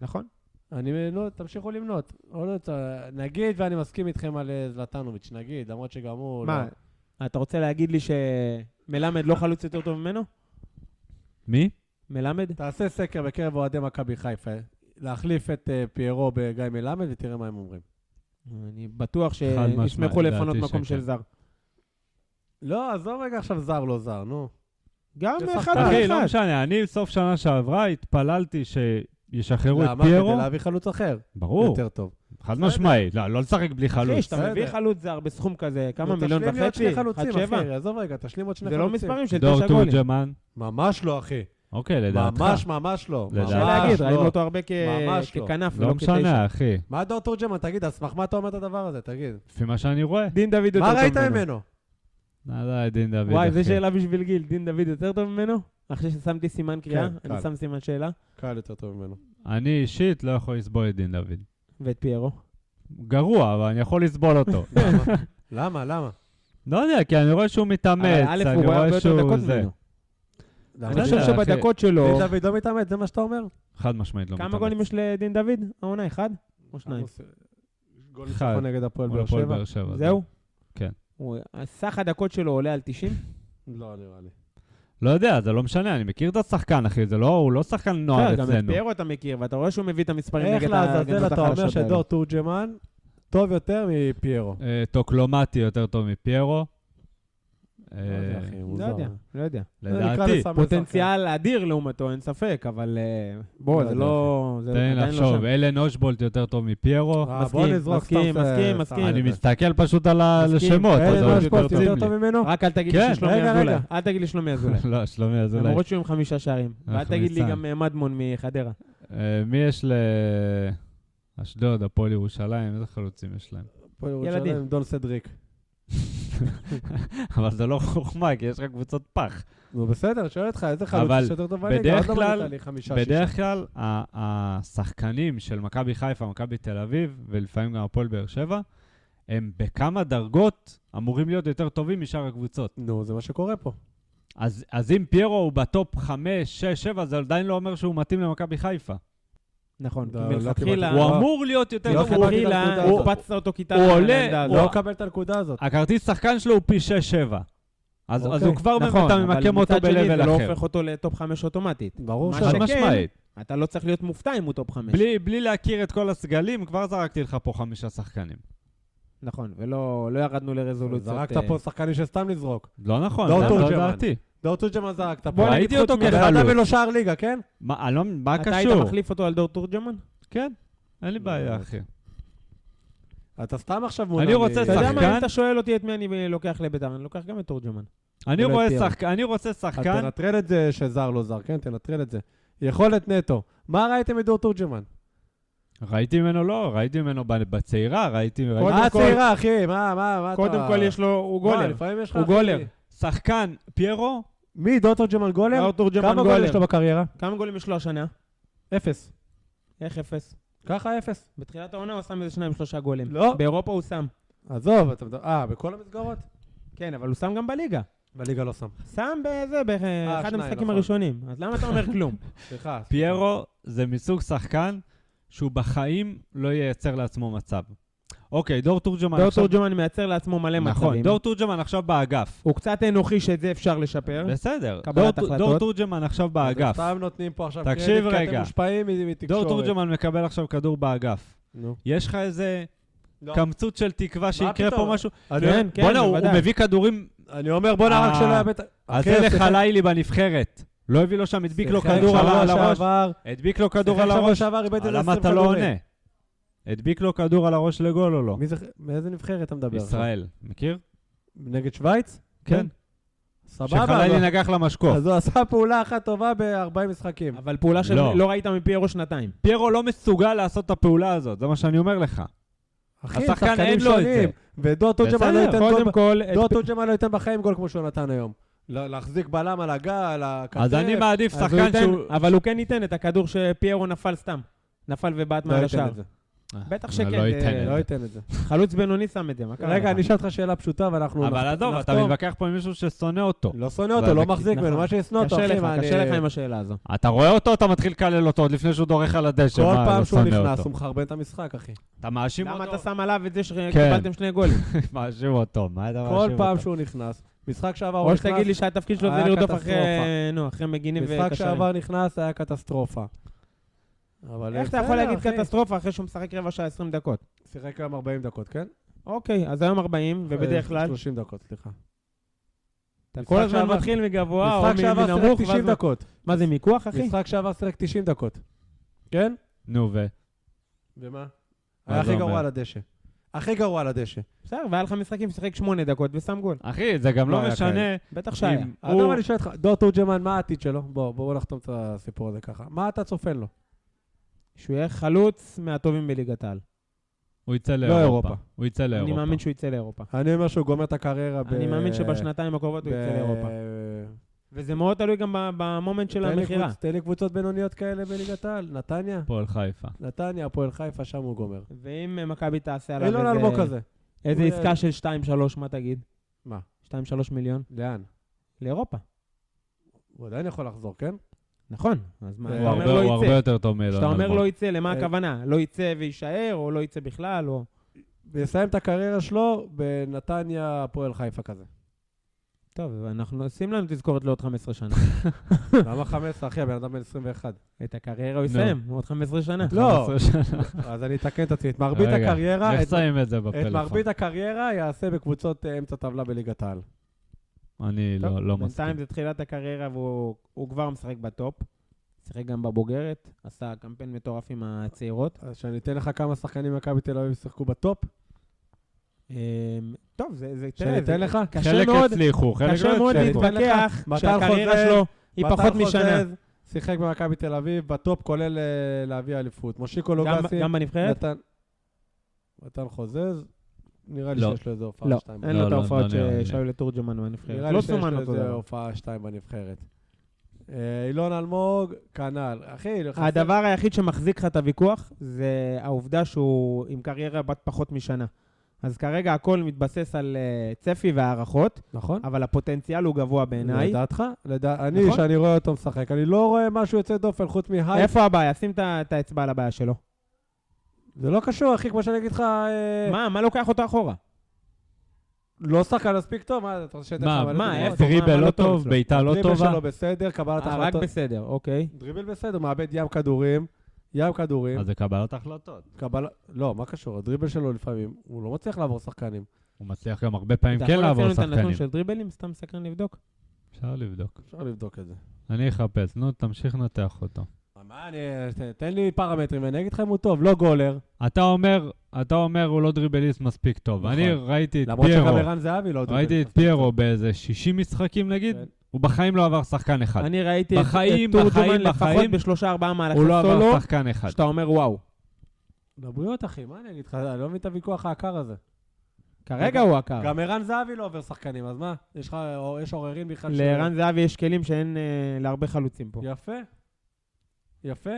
S2: נכון.
S4: אני, לא, תמשיכו למנות. עוד לא, ת- נגיד, ואני מסכים איתכם על אה, זלטנוביץ', נגיד, למרות שגם הוא...
S2: מה,
S4: לא.
S2: אתה רוצה להגיד לי שמלמד לא חלוץ יותר טוב ממנו?
S3: מי?
S2: מלמד?
S4: תעשה סקר בקרב אוהדי מכבי חיפה, להחליף את אה, פיירו בגיא מלמד ותראה מה הם אומרים.
S2: אני בטוח
S3: חד משמעית,
S2: שישמחו לפנות
S3: לדעתי שכן.
S2: מקום של זר.
S4: לא, עזוב רגע עכשיו זר לא זר, נו.
S2: גם
S4: זה
S2: אחד
S4: שחקן.
S2: על
S3: אחי,
S2: אחד.
S3: לא משנה, אני סוף שנה שעברה התפללתי שישחררו את
S4: למה?
S3: פיירו.
S4: כדי להביא חלוץ אחר.
S3: ברור,
S4: יותר טוב.
S3: חד משמעית. לא, לא לשחק בלי
S2: אחי,
S3: חלוץ.
S2: כשאתה מביא
S4: בסדר.
S2: חלוץ זר בסכום כזה, כמה
S4: נו,
S2: מיליון
S4: תשלים לי עוד
S2: וחצי?
S4: שני
S2: עד
S4: חלוצים,
S2: שבע?
S4: אחי, עזוב רגע, תשלים עוד שני
S2: זה לא
S4: חלוצים.
S2: מספרים של
S3: דור
S2: תשע גולים.
S3: תורג'מן.
S4: ממש לא, אחי.
S3: אוקיי, לדעתך.
S4: ממש ממש לא.
S3: לדעתך.
S2: אפשר
S3: ממש
S2: להגיד,
S4: לא.
S2: ראינו אותו הרבה כ-
S4: ממש לא.
S2: ככנף ולא
S3: לא
S2: כתשע.
S3: משנה, אחי.
S4: מה דור תורג'מן, תגיד, על סמך מה אתה אומר את הדבר הזה, תגיד.
S3: לפי מה שאני רואה.
S2: דין דוד יותר טוב
S4: מה
S2: ממנו.
S4: ראית ממנו?
S3: לא, לא, דין דוד, אחי.
S2: וואי, זו שאלה בשביל גיל, דין דוד יותר טוב ממנו? אחרי ששמתי סימן קריאה,
S4: כן,
S2: אני
S4: קל.
S2: שם סימן שאלה,
S4: קהל יותר טוב ממנו.
S3: אני אישית לא יכול לסבול את דין דוד.
S2: ואת פיירו.
S3: גרוע, אבל אני יכול לסבול אותו.
S4: למה? למה?
S3: לא יודע, כי אני רואה שהוא מתאמץ,
S2: אבל אה, א',
S3: אני
S2: הוא רואה הרבה
S3: רואה
S2: יותר
S3: שהוא
S2: דקות
S3: זה.
S2: ממנו.
S4: למה?
S2: אני חושב
S3: יודע, אחי.
S2: שבדקות שלו,
S4: דין דוד לא מתאמץ, זה מה שאתה אומר?
S3: חד משמעית לא מתאמץ.
S2: כמה גולים יש לדין דוד? העונה, אחד? או שניים?
S4: גול
S3: אחד.
S4: ניצחון נגד הפועל
S3: מול
S4: באר
S3: הפועל
S4: שבע?
S3: באר שבע.
S2: זהו?
S3: כן.
S2: הוא- סך הדקות שלו עולה על 90?
S4: לא, נראה לי.
S3: לא יודע, זה לא משנה, אני מכיר את השחקן, אחי, זה לא, הוא לא שחקן נוער
S2: בסדר, גם את
S3: אצלנו.
S2: פיירו אתה מכיר, ואתה רואה שהוא מביא את המספרים
S4: איך
S2: נגד
S4: לעזאזל
S2: ההגנות
S4: אתה אומר
S2: החלשות האלה.
S4: שדור תורג'מן טוב יותר מפיירו?
S3: אה, טוקלומטי יותר טוב מפיירו.
S4: לא יודע,
S3: אה,
S4: אחי,
S2: לא
S4: מוזר.
S2: יודע, לא יודע.
S4: נקרא
S3: לדעתי.
S4: לסמל שחקן.
S2: פוטנציאל אדיר לעומתו, אין ספק, אבל אה, בוא,
S4: לא
S2: זה
S4: יודע,
S2: לא... זה
S3: תן
S2: עדיין
S3: לי
S2: לא
S3: לחשוב,
S2: שם.
S3: אלן אושבולט יותר טוב מפיירו.
S4: אה,
S2: מסכים,
S4: בוא נזרוק
S2: מסכים,
S4: סתם את-
S2: מסכים,
S4: סתם אה,
S2: מסכים.
S4: את
S3: אני
S4: זה.
S3: מסתכל פשוט על ה- על
S2: מסכים.
S3: השמות,
S2: אלן
S3: אז
S4: אלן
S3: הוא
S2: אושבולט
S3: יותר
S4: אשפוז
S3: טוב
S4: לא, יותר
S3: לי.
S4: טוב ממנו?
S2: רק אל תגיד
S3: כן,
S2: לי ששלומי
S4: רגע,
S2: אזולאי.
S4: רגע.
S2: אל תגיד לי שלומי אזולאי.
S3: לא, שלומי אזולאי.
S2: למרות שהוא עם חמישה שערים. ואל
S3: אנחנו
S2: תגיד לי
S3: ניסן.
S2: גם אה, מדמון מחדרה.
S3: אה, מי יש לאשדוד, הפועל ירושלים, איזה חלוצים יש להם?
S4: פה
S2: ילדים.
S4: ירושלים, דון סדריק.
S3: אבל זה לא חוכמה, כי יש לך קבוצות פח.
S4: נו בסדר, אני שואל אותך, איזה
S3: אבל
S4: חלוץ יותר טוב בליגה?
S3: בדרך
S4: עוד לא מנית
S3: כלל-
S4: לי חמישה, שישה.
S3: בדרך כלל, ה- השחקנים של מכבי חיפה, מכבי תל אביב, ולפעמים גם הפועל באר שבע, הם בכמה דרגות אמורים להיות יותר טובים משאר הקבוצות.
S4: נו, זה מה שקורה פה.
S3: אז, אז אם פיירו הוא בטופ 5, 6, 7, זה עדיין לא אומר שהוא מתאים למכבי חיפה.
S2: נכון, כי
S4: לא, לא
S2: מלכתחילה...
S4: קיבלתי.
S3: הוא
S4: לא.
S3: אמור להיות יותר
S4: לא
S3: טוב. הוא-
S4: קיבלתי את הנקודה
S2: מלכתחילה,
S4: הזאת.
S2: הקפצת אותו כיתה.
S3: הוא עולה,
S2: לעמדה
S3: הוא
S2: הזאת.
S4: לא מקבל את הנקודה הזאת.
S3: הכרטיס שחקן שלו הוא פי 6-7. אז, אז
S4: אוקיי,
S3: הוא כבר
S2: נכון,
S3: אתה
S2: אבל
S3: ממקם
S2: מצד
S3: אותו
S2: שני,
S3: ב-level
S2: זה לא
S3: אחר.
S2: הופך אותו לטופ חמש אוטומטית.
S4: ברור
S2: מה
S4: ש...
S2: ש-
S3: חד
S2: שכן,
S3: משמעית.
S2: אתה לא צריך להיות מופתע אם הוא טופ חמש.
S3: בלי, בלי להכיר את כל הסגלים, כבר זרקתי לך פה חמישה שחקנים.
S2: נכון, ולא לא ירדנו לרזולוציות.
S4: זרקת
S2: אה,
S4: פה שחקנים שסתם לזרוק.
S3: לא נכון,
S4: לא
S3: זה
S4: תורג'מן.
S3: דעתי.
S4: דור תורג'מן זרקת פה.
S3: בוא נגיד ראיתי חוץ אותו מ- כחלוץ.
S4: בן אדם אין לו שער ליגה, כן?
S3: מה, אני לא- מה
S2: אתה היית
S3: קשור?
S2: מחליף אותו על דור תורג'מן?
S3: כן, אין לי בעיה, אחי.
S4: אתה סתם עכשיו מונע.
S3: אני
S4: מ-
S3: רוצה
S4: אתה
S2: אתה
S4: יודע
S2: יודע
S3: שחקן?
S4: מה?
S2: מה, אם אתה שואל אותי את מי אני לוקח לביתר, אני לוקח גם את תורג'מן.
S3: אני
S2: ולא
S3: רואה
S2: את פיירו.
S3: שחק- אני רוצה
S4: אז
S3: שחקן,
S4: תנטרל את זה שזר לא זר, כן? תנטרל את זה. יכולת נטו. מה ראיתם מדור תורג'מן?
S3: ראיתי ממנו לא, ראיתי ממנו ב- בצעירה, ראיתי... ראיתי-
S4: מה
S2: אה, כל-
S4: הצעירה, אה, אחי? מה, מה, מה אתה...
S2: קודם כל יש לו, הוא
S4: מה,
S2: גולר.
S4: לפעמים יש לך...
S2: הוא
S4: אחי-
S2: גולר.
S3: שחקן, פיירו,
S4: מי, דור תורג'מן גולר?
S2: דור תורג'מן
S4: כמה גול
S2: גולר.
S4: יש לו בקריירה?
S2: כמה גולים יש לו השנה?
S4: אפס.
S2: איך אפס?
S4: ככה אפס.
S2: בתחילת העונה הוא שם איזה שניים שלושה גולים.
S4: לא.
S2: באירופה הוא שם.
S4: עזוב, אתה מדבר... אה, בכל המסגרות?
S2: כן, אבל הוא שם גם בליגה.
S4: בליגה לא שם.
S2: שם בזה, באחד
S4: שניים,
S2: המשחקים
S4: נכון.
S2: הראשונים. אז למה אתה אומר כלום?
S4: סליחה.
S3: פיירו זה מסוג שחקן שהוא בחיים לא ייצר לעצמו מצב. אוקיי, דור תורג'מן
S2: דור
S3: עכשיו...
S2: תורג'מן מייצר לעצמו מלא מצבים.
S3: נכון, דור תורג'מן עכשיו באגף.
S2: הוא קצת אנוכי שאת זה אפשר לשפר.
S4: לא.
S3: בסדר.
S2: אוקיי. קבלת
S3: דור-
S2: החלטות.
S3: דור תורג'מן עכשיו באגף.
S4: אתם סתם נותנים פה עכשיו
S3: תקשיב
S4: קרדיט, כי
S3: רגע.
S4: אתם מושפעים מ- מתקשורת.
S3: דור תורג'מן מקבל עכשיו כדור באגף.
S4: נו.
S3: יש לך איזה
S4: לא.
S3: קמצוץ של תקווה שיקרה
S4: פתאום?
S3: פה משהו?
S4: אני-
S2: כן, כן,
S3: בואנה, הוא הוא
S2: בוודאי.
S3: מביא כדורים,
S4: אני אומר, בואנה, רק
S3: אה,
S4: שלא יאבד...
S3: אז
S4: אחי,
S3: זה
S4: שיחק-
S3: לחלילי בנבחרת. לא הביא לו שם, הדביק לו
S4: שיחק
S3: כדור על
S4: אוקיי. שבוע
S3: ה- על הראש.
S4: שעבר,
S3: הדביק לו כדור
S4: שיחק
S3: על
S4: שבוע
S3: הראש.
S4: שעבר, איבד איזה
S3: למה
S4: 20
S3: אתה לא
S4: כדורים.
S3: עונה? הדביק לו כדור על הראש לגול או לא?
S4: מי זה... מאיזה נבחרת אתה מדבר?
S3: ישראל, מכיר?
S4: נגד שווייץ?
S3: כן.
S4: סבבה. אבל-
S3: שחלילי נגח למשקוף.
S4: אז הוא עשה פעולה אחת טובה ב-40 משחקים.
S2: אבל פעולה
S3: לא.
S2: שלא ראית מפיירו שנתיים.
S3: פיירו לא מסוגל לעשות את הפעולה הזאת, זה מה שאני אומר לך.
S4: אחי,
S3: השחקן
S4: שחקנים
S3: אין לו את זה.
S4: שונים. ודור תורג'מן לא
S3: בסדר,
S4: ייתן גול...
S2: קודם כל,
S4: ב-
S2: את
S4: דור
S2: פ-
S4: תורג'מן לא ייתן בחיים גול כמו שהוא נתן היום. לה- להחזיק בלם על הגל, על הכתף.
S3: אז אני מעדיף
S2: אז הוא
S3: שחקן
S2: ייתן,
S3: שהוא...
S2: אבל הוא כן ייתן את הכדור שפיירו נפל סתם. נפל ובעט
S4: לא
S2: מעל
S4: ייתן
S2: השער.
S4: את זה.
S2: בטח שכן,
S3: לא
S2: אה,
S3: ייתן את
S4: לא
S3: זה.
S4: ייתן את זה.
S2: חלוץ בינוני שם את זה, מה קרה לך?
S4: רגע, אני אשאל אותך שאלה פשוטה ואנחנו...
S3: אבל
S4: נחת-
S3: עזוב, אתה
S4: נחתום.
S3: מתווכח פה עם מישהו ששונא אותו.
S4: לא שונא אותו, לא
S3: נכון.
S4: מחזיק ממנו, מה שישנא אותו,
S2: קשה
S4: אחי,
S2: לך,
S4: מה,
S2: קשה
S4: אני-
S2: לך עם השאלה הזו.
S3: אתה רואה אותו, אתה מתחיל לקלל אותו עוד לפני שהוא דורך על הדשא.
S4: כל
S3: מה,
S4: פעם
S3: לא
S4: שהוא
S3: שונא
S4: נכנס,
S3: אותו.
S4: הוא מחרבן את המשחק, אחי.
S3: אתה מאשים
S2: למה
S3: אותו?
S2: אתה שם עליו
S4: כן.
S2: את זה שקיבלתם שני גולים?
S3: מאשים אותו, מה אתה מאשים
S4: כל
S3: אותו?
S4: פעם שהוא נכנס, משחק שעבר הוא
S2: או
S4: נכנס,
S2: שתגיד לי שהתפקיד שלו זה
S4: היה
S2: לרדוף אחרי
S4: קטסטרופה.
S2: נו, אחרי מגינים
S4: משחק
S2: וקשרים.
S4: שעבר נכנס, היה קטסטרופה. אבל
S2: איך אתה יכול
S4: בסדר,
S2: להגיד
S4: אחי.
S2: קטסטרופה אחרי שהוא משחק רבע שעה 20 דקות?
S4: שיחק היום 40 דקות, כן?
S2: אוקיי, אז היום 40, ובדרך
S4: אה,
S2: כלל,
S4: 30 דקות, סליחה.
S2: אתה
S4: משחק
S2: כל הזמן
S4: שעבר-
S2: מתחיל מגבוה, או
S4: משחק שעבר
S2: מנמוך,
S4: שיחק 90
S2: ואז-
S4: דקות.
S2: מה זה, מיקוח, אחי?
S4: משחק שעבר שיחק 90 דקות. כן?
S3: נו, ו...
S4: ומה?
S3: מה
S4: היה
S3: זה
S4: הכי
S3: אומר?
S4: גרוע על הדשא. הכי גרוע על הדשא.
S2: בסדר, והיה לך משחקים, שיחק 8 דקות ושם גול.
S3: אחי, זה גם
S4: לא
S3: לא
S4: היה
S3: משנה.
S2: בטח שהיה.
S3: אם הוא-
S4: אדם, אני שואל אותך, דור תורג'מן, מה העתיד שלו? בוא, בואו נחתום את הסיפור הזה ככה. מה אתה צופן לו?
S2: שהוא יהיה חלוץ מהטובים בליגת העל.
S3: הוא יצא
S4: לא
S3: לאירופה.
S4: אירופה.
S3: הוא יצא לאירופה.
S2: אני מאמין שהוא יצא לאירופה.
S4: אני אומר שהוא גומר את הקריירה ב...
S2: אני מאמין שבשנתיים הקרובות הוא
S4: ב-
S2: יצא לאירופה. וזה מאוד תלוי גם ב- במומנט של
S4: תן לי
S2: המכירה.
S4: קבוצ- תן לי קבוצות בינוניות כאלה בליגת העל, נתניה.
S3: הפועל חיפה.
S4: נתניה, הפועל חיפה, שם הוא גומר.
S2: ואם אה, מכבי תעשה עליו
S4: אילון
S2: איזה-
S4: אלמוג כזה.
S2: איזה
S4: הוא-
S2: עסקה של 2-3, מה תגיד?
S4: מה?
S2: 2-3 מיליון?
S4: לאן?
S2: לאירופה.
S4: הוא עדיין יכול לחזור, כן?
S2: נכון. אז מה,
S4: הוא
S2: אתה
S3: הוא הרבה-
S2: אומר
S3: הוא
S2: לא
S3: הרבה
S2: יצא.
S3: יותר טוב מאלון.
S2: כשאתה אומר
S3: אלמוג.
S2: לא יצא, למה
S4: אה,
S2: הכוונה? לא יצא ויישאר, או לא יצא בכלל, או...
S4: ויסיים את הקריירה שלו בנתניה, הפועל חיפה כזה.
S2: טוב, אנחנו שים לנו תזכורת לעוד 15 שנה.
S4: למה 15, אחי? הבן אדם בן 21.
S2: את הקריירה הוא יסיים, עוד 15 שנה.
S4: לא.
S3: 15 שנה.
S4: אז אני אתקן את עצמי. את מרבית
S3: רגע,
S4: הקריירה,
S3: איך
S4: את-
S2: אוקיי,
S3: שמים את זה
S4: את
S3: בפלאפון?
S4: מרבית הקריירה יעשה בקבוצות אה, אמצע טבלה בליגת העל.
S3: אני
S2: טוב,
S3: לא, לא
S2: בינתיים
S3: מסכים.
S2: זה תחילת הקריירה והוא הוא כבר משחק בטופ. שיחק גם בבוגרת, עשה קמפיין מטורף עם הצעירות.
S4: אז שאני אתן לך כמה שחקנים ממכבי תל אביב ישחקו בטופ?
S2: אמ, טוב, זה... זה- תראה,
S4: שאני אתן
S2: זה-
S4: לך?
S2: קשה
S3: חלק
S2: מאוד,
S3: הצליחו, חלק לא
S2: קשה מאוד
S4: הצליחו.
S2: להתווכח
S4: מתן
S2: שהקריירה
S4: חוזז,
S2: שלו היא
S4: מתן
S2: פחות משנה.
S4: חוזז שיחק במכבי תל אביב בטופ, כולל אה, להביא אליפות. מושיקו
S3: לא
S2: גם-
S4: לוגסי,
S2: גם בנבחרת?
S4: נתן- מתן חוזז, נראה לי
S3: לא.
S4: שיש לו איזה הופעה
S2: לא,
S4: שתיים.
S2: אין
S3: לא,
S2: לו את
S3: לא,
S2: ההופעות
S3: לא נראה לי.
S2: ש- שהיו לתורג'מן
S4: נראה
S2: בנבחרת.
S4: לי
S2: לא
S4: שיש לו
S2: סומן אותו
S4: איזה
S2: דבר.
S4: הופעה שתיים בנבחרת. אה, אילון אלמוג, כנ"ל. אחי, חסר-
S2: הדבר היחיד שמחזיק לך את הוויכוח זה העובדה שהוא עם קריירה בת פחות משנה. אז כרגע הכל מתבסס על אה, צפי והערכות,
S4: נכון?
S2: אבל הפוטנציאל הוא גבוה בעיניי.
S4: לדעתך? לדע... אני,
S2: נכון.
S4: שאני רואה אותו משחק, אני לא רואה משהו יוצא דופן חוץ מהייפ.
S2: איפה הבעיה? שים את ה- את האצבע על הבעיה שלו.
S4: זה לא קשור, אחי, כמו שאני אגיד לך, אה,
S2: מה, מה לוקח אותו אחורה?
S4: לא שחקן מספיק טוב, מה, אתה רוצה שאתה...
S3: מה,
S2: מה, איפה? מה
S3: דריבל
S2: לא
S3: לא
S2: טוב
S3: טוב,
S2: אצלו?
S3: בעיטה לא
S4: דריבל
S3: טובה.
S4: שלו בסדר, קבלת
S2: אה, רק
S4: החלטות.
S2: בסדר, אוקיי.
S4: דריבל בסדר, מאבד ים כדורים, ים
S2: כן.
S4: כדורים.
S3: אז זה קבלת החלטות.
S4: קבל... לא, מה קשור? הדריבל שלו לפעמים, הוא לא מצליח לעבור שחקנים.
S3: הוא מצליח גם הרבה פעמים
S2: אתה
S3: כן
S2: יכול
S3: לעבור
S2: לציין את הנתון
S3: שחקנים.
S2: של דריבלים? סתם סקרן לבדוק.
S3: אפשר לבדוק.
S4: אפשר לבדוק את זה.
S3: אני אחפש, נו, תמשיך לנתח אותו.
S4: מה, אני... ת- תן לי פרמטרים ואני אגיד לך אם הוא טוב, לא גולר.
S3: אתה אומר, אתה אומר, הוא לא דריבליסט מספיק טוב.
S4: נכון.
S3: אני ראיתי את
S4: למרות שגם
S3: פיירו,
S4: ערן זהבי לא דריבל.
S3: ראיתי את פיירו באיזה 60 משחקים נגיד,
S4: כן.
S3: הוא בחיים לא עבר שחקן אחד.
S2: אני ראיתי את-
S3: בחיים,
S2: את תורג'מן
S3: בחיים,
S2: לפחות
S3: בחיים.
S2: בשלושה-ארבעה מהלכי
S3: הוא לא עבר
S2: סולו,
S3: שחקן אחד.
S2: שאתה אומר וואו.
S4: לבריאות, לא אחי, מה אני אגיד לך? אני לא מבין את הוויכוח העקר הזה.
S2: כרגע הוא עקר.
S3: אה.
S4: גם ערן זהבי לא עובר שחקנים, אז מה? יש לך, או- יש עוררין בכלל ש-
S2: לערן כן, זהבי יש כלים שאין אה, להרבה חלוצים פה.
S4: יפה. יפה.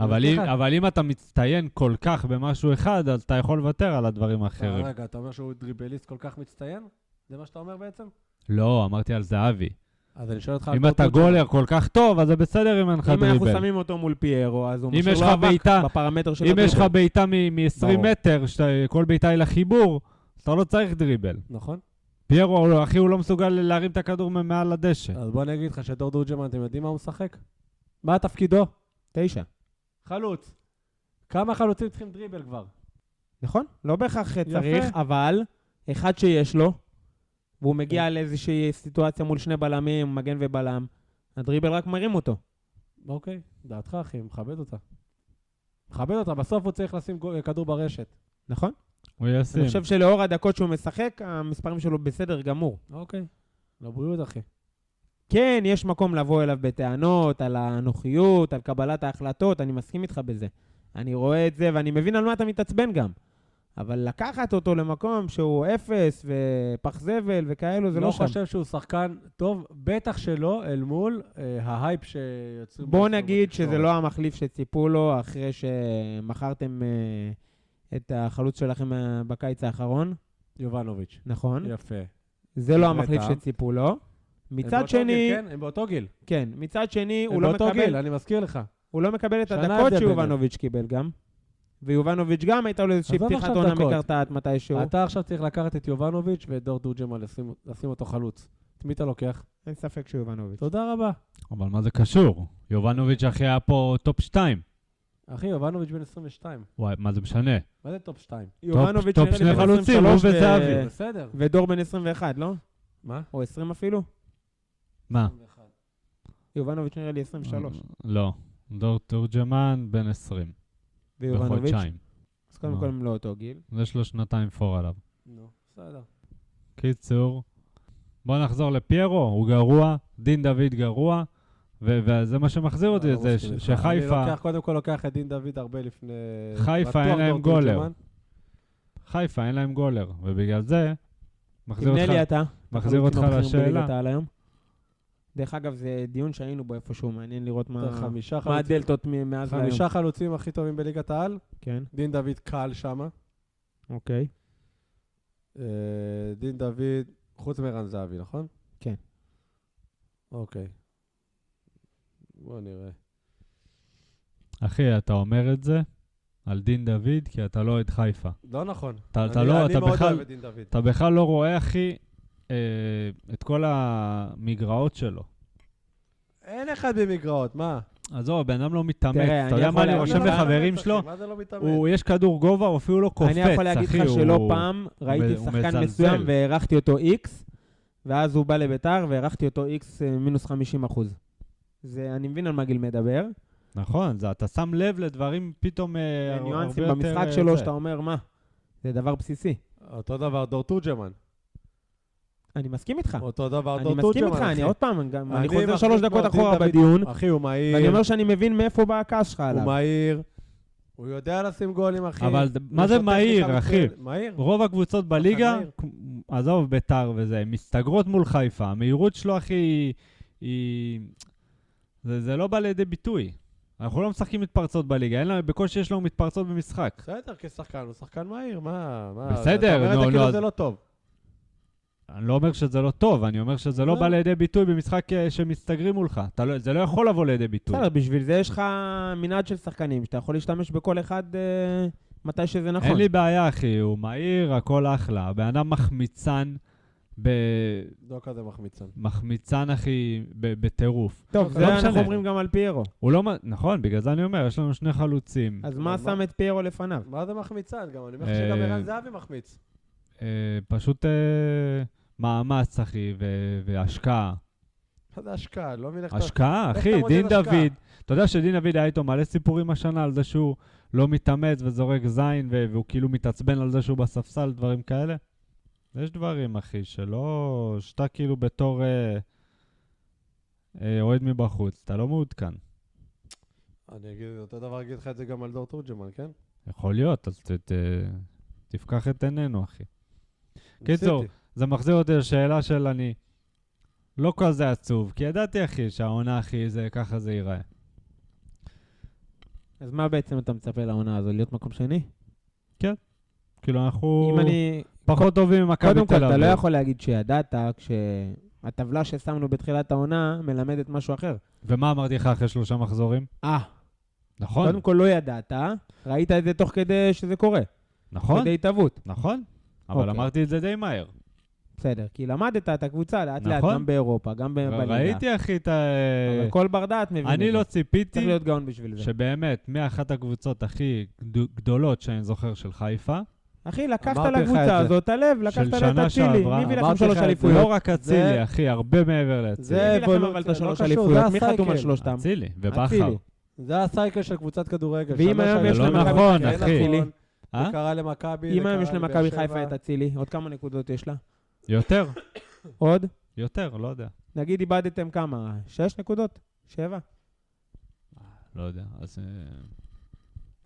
S3: אבל
S4: יש
S3: אם-
S4: לך-
S3: אבל אם אתה מצטיין כל כך במשהו אחד, אז אתה יכול לוותר על הדברים האחרים.
S4: אה,
S2: אה.
S4: רגע, אתה אומר שהוא דריבליסט כל כך מצטיין? זה מה שאתה אומר בעצם?
S3: לא, אמרתי על זהבי.
S4: אז אני שואל אותך... על
S3: אם
S4: כל
S3: אתה
S4: תורג'מן.
S3: גולר כל כך טוב, אז זה בסדר אם אין לך
S2: אם אנחנו
S3: דריבל.
S2: שמים אותו מול פיירו, אז הוא
S3: אם
S2: משאיר
S3: יש
S2: לו
S3: לך
S2: אבק
S3: בעיטה-
S2: בפרמטר של
S3: אם יש לך
S2: הדריבל.
S3: בעיטה מ-20
S2: ברור.
S3: מטר, שכל בעיטה היא לחיבור, אז אתה לא צריך דריבל.
S4: נכון.
S3: פיירו, הוא- אחי, הוא לא מסוגל להרים את הכדור מ- מעל הדשא.
S2: אה,
S4: אז בוא אני אגיד לך שדור דורג'מן, אתם יודעים מה הוא משחק? מה תפקידו?
S2: תשע.
S4: חלוץ. כמה חלוצים צריכים דריבל כבר?
S2: נכון? לא בהכרח צריך, אבל אחד שיש לו, והוא מגיע לאיזושהי סיטואציה מול שני בלמים, מגן ובלם, הדריבל רק מרים אותו.
S4: אוקיי, דעתך אחי, מכבד אותה. מכבד אותה, בסוף הוא צריך לשים גו- כדור ברשת.
S2: נכון?
S3: הוא ישים.
S2: אני חושב שלאור הדקות שהוא משחק, המספרים שלו בסדר גמור.
S4: אוקיי. לבריאות אחי.
S2: כן, יש מקום לבוא אליו בטענות, על הנוחיות, על קבלת ההחלטות, אני מסכים איתך בזה. אני רואה את זה, ואני מבין על מה אתה מתעצבן גם. אבל לקחת אותו למקום שהוא אפס ופח זבל וכאלו, זה לא,
S4: לא
S2: שם.
S4: חושב שהוא שחקן טוב, בטח שלא אל מול אה, ההייפ שיוצרים.
S2: בוא
S4: בעצם
S2: נגיד שזה
S4: בתקשורת.
S2: לא המחליף שציפו לו אחרי שמכרתם אה, את החלוץ שלכם אה, בקיץ האחרון,
S4: יובנוביץ'.
S2: נכון?
S4: יפה.
S2: זה לא
S4: דברי
S2: המחליף
S4: טעם.
S2: שציפו לו.
S4: הם
S2: מצד
S4: באותו
S2: שני,
S4: גיל, כן, הם באותו גיל.
S2: כן, מצד שני, הוא
S4: הם
S2: לא
S4: באותו גיל,
S2: מקבל-
S4: אני מזכיר לך.
S2: הוא לא מקבל את
S4: שנה
S2: הדקות
S4: הבדל
S2: שיובנוביץ' קיבל גם. ויובנוביץ' גם הייתה לו איזושהי
S4: עזוב
S2: פתיחת
S4: עכשיו
S2: עונה
S4: דקות.
S2: מקרטעת מתישהו.
S4: אתה עכשיו צריך לקחת את יובנוביץ' ואת דור דורג'מן, לשים- לשים אותו חלוץ. את מי אתה לוקח?
S2: אין ספק שיובנוביץ'.
S4: תודה רבה.
S3: אבל מה זה קשור? יובנוביץ' אחי היה פה טופ 2.
S4: אחי, יובנוביץ' בן 22.
S3: וואי, מה זה משנה?
S4: מה זה טופ 2?
S2: יובנוביץ'
S3: טופ
S2: נראה לי
S3: שני
S2: בן
S3: חלוצים,
S2: 23
S3: הוא
S2: ו-
S3: וזהבי.
S4: בסדר.
S2: ודור בן 21, לא?
S4: מה?
S2: או 20 אפילו?
S3: מה?
S2: יובנוביץ' נראה לי 23.
S3: לא. דור תורג'מן בן 20.
S2: ויובנוביץ'.
S3: בחודשיים. אה.
S2: אז קודם כל הם לא אותו גיל.
S3: יש לו שנתיים פור עליו.
S4: נו, בסדר.
S3: קיצור, בוא נחזור לפיירו, הוא גרוע, דין דוד גרוע, ו- וזה מה שמחזיר אותי
S2: אה,
S4: אני לא
S3: לזה, ש-
S4: מסכים איתך.
S3: שחיפה,
S4: אני לוקח, קודם כל לוקח את דין דוד הרבה לפני...
S3: חיפה,
S4: בטוח
S3: אין להם
S4: דור
S3: גולר.
S4: תורג'מן.
S3: חיפה אין להם גולר, ובגלל זה, מחזיר
S2: תמנה לי
S3: אותך,
S2: אתה.
S3: מחזיר אותך
S2: החלוצים הבכירים
S3: לשאלה.
S2: בליגת העל היום. דרך אגב, זה דיון שהיינו בו איפשהו, מעניין לראות מה
S4: חמישה
S2: מה
S4: חלוצים.
S2: הדלתות מ- מאז להיום.
S4: חמישה חלוצים הכי טובים בליגת העל.
S2: כן,
S4: דין דוד קל שמה.
S2: אוקיי.
S4: אה, דין דוד, חוץ מרן זהבי, נכון?
S2: כן.
S4: אוקיי. בוא נראה.
S3: אחי, אתה אומר את זה על דין דוד, כי אתה לא אוהד חיפה.
S4: לא נכון.
S3: אתה- אתה
S4: אני-
S3: לא,
S4: אני
S3: אתה
S4: מאוד
S3: בכלל-
S4: אוהב את דין דוד.
S3: אתה בכלל לא רואה, אחי, אה, את כל המגרעות שלו.
S4: אין אחד במגרעות, מה?
S3: עזוב, הבן אדם לא מתאמץ,
S2: תראה,
S3: אתה
S2: אני
S3: יודע מה
S2: יכול
S3: אני
S2: להגיד
S3: רושם
S2: לך-
S3: לחברים
S4: אחי,
S3: שלו?
S4: מה זה לא מתאמן?
S3: הוא, יש כדור גובה, הוא אפילו לא קופץ, אחי,
S2: אני יכול להגיד לך שלא
S3: הוא-
S2: פעם ראיתי
S3: הוא
S2: שחקן
S3: מזלזל.
S2: מסוים והערכתי אותו איקס, ואז הוא בא לביתר והערכתי אותו איקס מינוס 50 אחוז. זה, אני מבין על מה גיל מדבר.
S3: נכון, זה, אתה שם לב לדברים פתאום אה, הר- הרבה
S2: ניואנסים
S3: יותר,
S2: במשחק
S3: אה,
S2: שלו,
S3: זה.
S2: שאתה אומר, מה? זה דבר בסיסי.
S4: אותו דבר דור תורג'מן.
S2: אני מסכים
S3: אה.
S2: איתך.
S4: אותו דבר
S2: אני
S4: דור
S2: מסכים
S4: תורג'מן,
S2: איתך,
S4: אחי.
S2: אני עוד פעם, גם- אני חוזר
S4: מחזיק
S2: שלוש דקות
S4: מאוד,
S2: אחורה
S4: דוד-
S2: בדיון,
S4: אחי, הוא מהיר.
S2: ואני אומר שאני מבין מאיפה בא הכעס שלך
S4: הוא
S2: עליו.
S4: מהיר. הוא יודע לשים גולים, אחי.
S2: לא
S3: אבל ד-
S4: הוא
S3: מה זה
S4: שוטף
S3: מהיר,
S4: טיפה
S3: אחי?
S4: מתחיל- מהיר.
S3: רוב הקבוצות בליגה,
S4: מהיר.
S3: כמו- עזוב ביתר וזה, הן מסתגרות מול חיפה. המהירות שלו, אחי, היא- היא... זה, זה לא בא לידי ביטוי. אנחנו לא משחקים מתפרצות בליגה, אין לנו, בקושי יש לנו מתפרצות במשחק.
S4: בסדר, כשחקן, הוא שחקן מהיר, מה? מה?
S3: בסדר,
S4: אתה אומר
S3: נו,
S4: את זה כאילו
S3: נו,
S4: זה
S3: אז-
S4: לא טוב.
S3: אני לא אומר שזה לא טוב, אני אומר שזה לא
S4: לא.
S3: בא לידי ביטוי במשחק אה, שמסתגרים מולך. אתה לא, זה לא יכול לבוא לידי ביטוי.
S2: בסדר, בשביל זה יש לך מנעד של שחקנים, שאתה יכול להשתמש בכל אחד אה, מתי שזה נכון.
S3: אין לי בעיה, אחי, הוא מהיר, הכל אחלה. הבן אדם מחמיצן, ב...
S4: לא כזה מחמיצן.
S3: מחמיצן, אחי, ב... בטירוף.
S2: טוב,
S3: לא
S2: זה אנחנו
S3: משנה.
S2: אומרים גם על פיירו.
S3: הוא לא... מ- נכון, בגלל זה אני אומר, יש לנו שני חלוצים.
S2: אז
S4: אבל
S2: מה
S4: מה-
S2: שם את פיירו לפניו?
S4: מה זה מחמיצן? גם אני אומר
S3: אה,
S4: לך שגם ערן זהבי מחמיץ.
S3: אה, פשוט אה, מאמץ, אחי, ו- והשקעה.
S4: מה זה השקעה? לא מבין איך אתה...
S3: השקעה,
S4: איך
S3: אחי,
S4: אתה מודד
S3: דין
S4: השקעה?
S3: דוד. אתה יודע שדין דוד היה איתו מלא סיפורים השנה על זה שהוא לא מתאמץ וזורק זין, ו- והוא כאילו מתעצבן על זה שהוא בספסל, דברים כאלה? יש דברים, אחי, שלא... שאתה כאילו בתור אה, אה, אוהד מבחוץ, אתה לא מעודכן.
S4: אני אגיד, אותו דבר אגיד לך את זה גם על דור תורג'מן, כן?
S3: יכול להיות, אז ת- ת- תפקח את עינינו, אחי.
S2: כן,
S3: קיצור,
S4: ניסיתי.
S3: זה מחזיר אותי לשאלה של אני לא כזה עצוב, כי ידעתי, אחי, שהעונה, אחי, זה ככה זה ייראה.
S2: אז מה בעצם אתה מצפה לעונה הזו? להיות מקום שני?
S3: כאילו, אנחנו
S2: אם אני...
S3: פחות טובים ממכבי תל
S2: קודם
S3: אביב.
S2: כל, אתה לא יכול להגיד שידעת כשהטבלה ששמנו בתחילת העונה מלמדת משהו אחר.
S3: ומה אמרתי לך אחרי שלושה מחזורים?
S2: אה,
S3: נכון,
S2: קודם כל לא ידעת, ראית את זה תוך כדי שזה קורה.
S3: נכון,
S2: כדי התהוות.
S3: נכון. אבל
S2: אוקיי.
S3: אמרתי את זה די מהר.
S2: בסדר, כי למדת את הקבוצה לאט-לאט,
S3: נכון.
S2: גם באירופה, גם ב- בליגה.
S3: ראיתי, אחי, את ה...
S2: אה, אבל כל בר דעת מבין את
S3: אני
S2: זה.
S3: לא ציפיתי
S2: צריך להיות גאון בשביל זה.
S3: שבאמת, מאחת הקבוצות הכי גד- גדולות שאני זוכר של חיפה,
S2: אחי, לקחת
S4: אמרתי לך את
S2: לקבוצה
S4: זה.
S2: הזאת את הלב,
S3: של
S2: לקחת לה את
S3: שנה
S2: אצילי,
S3: שעברה.
S2: מי הביא לכם
S4: אמרתי לך
S2: שלוש
S4: את זה.
S3: לא
S2: אליפויות?
S3: רק אצילי, אחי, הרבה מעבר לאצילי.
S2: מי
S4: זה
S2: הביא לכם אבל את
S4: אבולוציה, לא
S2: השלוש
S4: קשור, זה
S2: אליפויות? מי חתום על
S4: הסגל.
S2: שלושתם?
S3: אצילי,
S2: אצילי.
S3: ובכר.
S4: זה הסייקל של קבוצת כדורגל.
S2: ואם
S4: שלוש
S2: היום
S4: שנים.
S2: יש
S3: זה לא נכון,
S2: למכבי חיפה
S4: כן,
S2: את
S3: אחי.
S2: אצילי,
S3: אה?
S4: זה קרה למכבי, זה
S2: אם היום
S4: קרה
S2: יש למכבי
S4: לבאר
S2: חיפה את
S4: שבע.
S2: אצילי, עוד כמה נקודות יש לה?
S3: יותר,
S2: עוד?
S3: יותר, לא יודע.
S2: נגיד איבדתם כמה? שש נקודות? שבע?
S3: לא יודע, אז...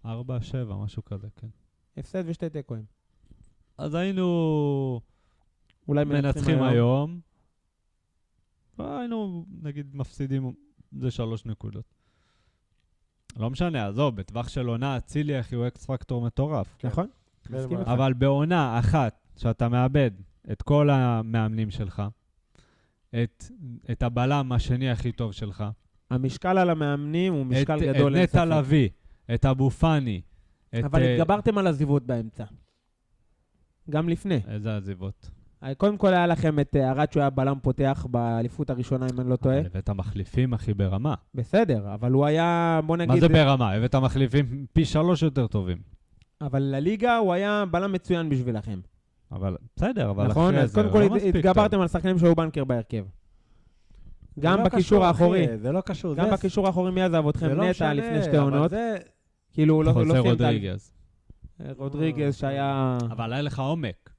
S3: אה, ארבע, שבע, משהו כזה, כן.
S2: הפסד ושתי תיקואים.
S3: אז היינו
S2: אולי
S3: מנצחים היום. אה, היינו, נגיד, מפסידים זה שלוש נקודות. לא משנה, עזוב, בטווח של עונה, אצילי, אחי, הוא אקס פקטור מטורף.
S2: נכון?
S4: כן,
S2: מסכים
S4: מה?
S2: איתך.
S3: אבל בעונה אחת, שאתה מאבד את כל המאמנים שלך, את, את הבלם השני הכי טוב שלך,
S2: המשקל על המאמנים הוא משקל
S3: את,
S2: גדול, אין
S3: את נטע
S2: ספק.
S3: לביא, את אבו פאני, את...
S2: אבל
S3: אה,
S2: התגברתם על עזיבות באמצע. גם לפני.
S3: איזה עזיבות.
S2: קודם כל היה לכם את אה, ארד שהוא היה בלם פותח באליפות הראשונה, אם אני לא טועה.
S3: אבל הבאת מחליפים, אחי, ברמה.
S2: בסדר, אבל הוא היה, בוא נגיד... אה,
S3: מה זה ברמה? הבאת מחליפים פי שלוש יותר טובים.
S2: אבל לליגה הוא היה בלם מצוין בשבילכם.
S3: אבל בסדר, אבל
S2: נכון?
S3: אחרי
S2: אז
S3: זה
S2: קודם
S3: לא
S2: כל
S3: מספיק טוב.
S2: התגברתם על שחקנים שהיו בנקר בהרכב.
S4: זה
S2: גם
S4: לא
S2: בקישור
S4: קשור,
S2: האחורי,
S4: אחי, זה לא קשור.
S2: גם
S4: זה-
S2: בקישור האחורי מי עזב אתכם?
S4: זה לא
S2: נטע
S4: משנה,
S2: לפני שתי
S4: אבל
S2: עונות.
S4: זה-
S2: כאילו, הוא לא הוא לא
S3: חוזר
S2: סיים את ה...
S3: רודריגז.
S2: רודריגז שהיה...
S3: אבל היה לך עומק.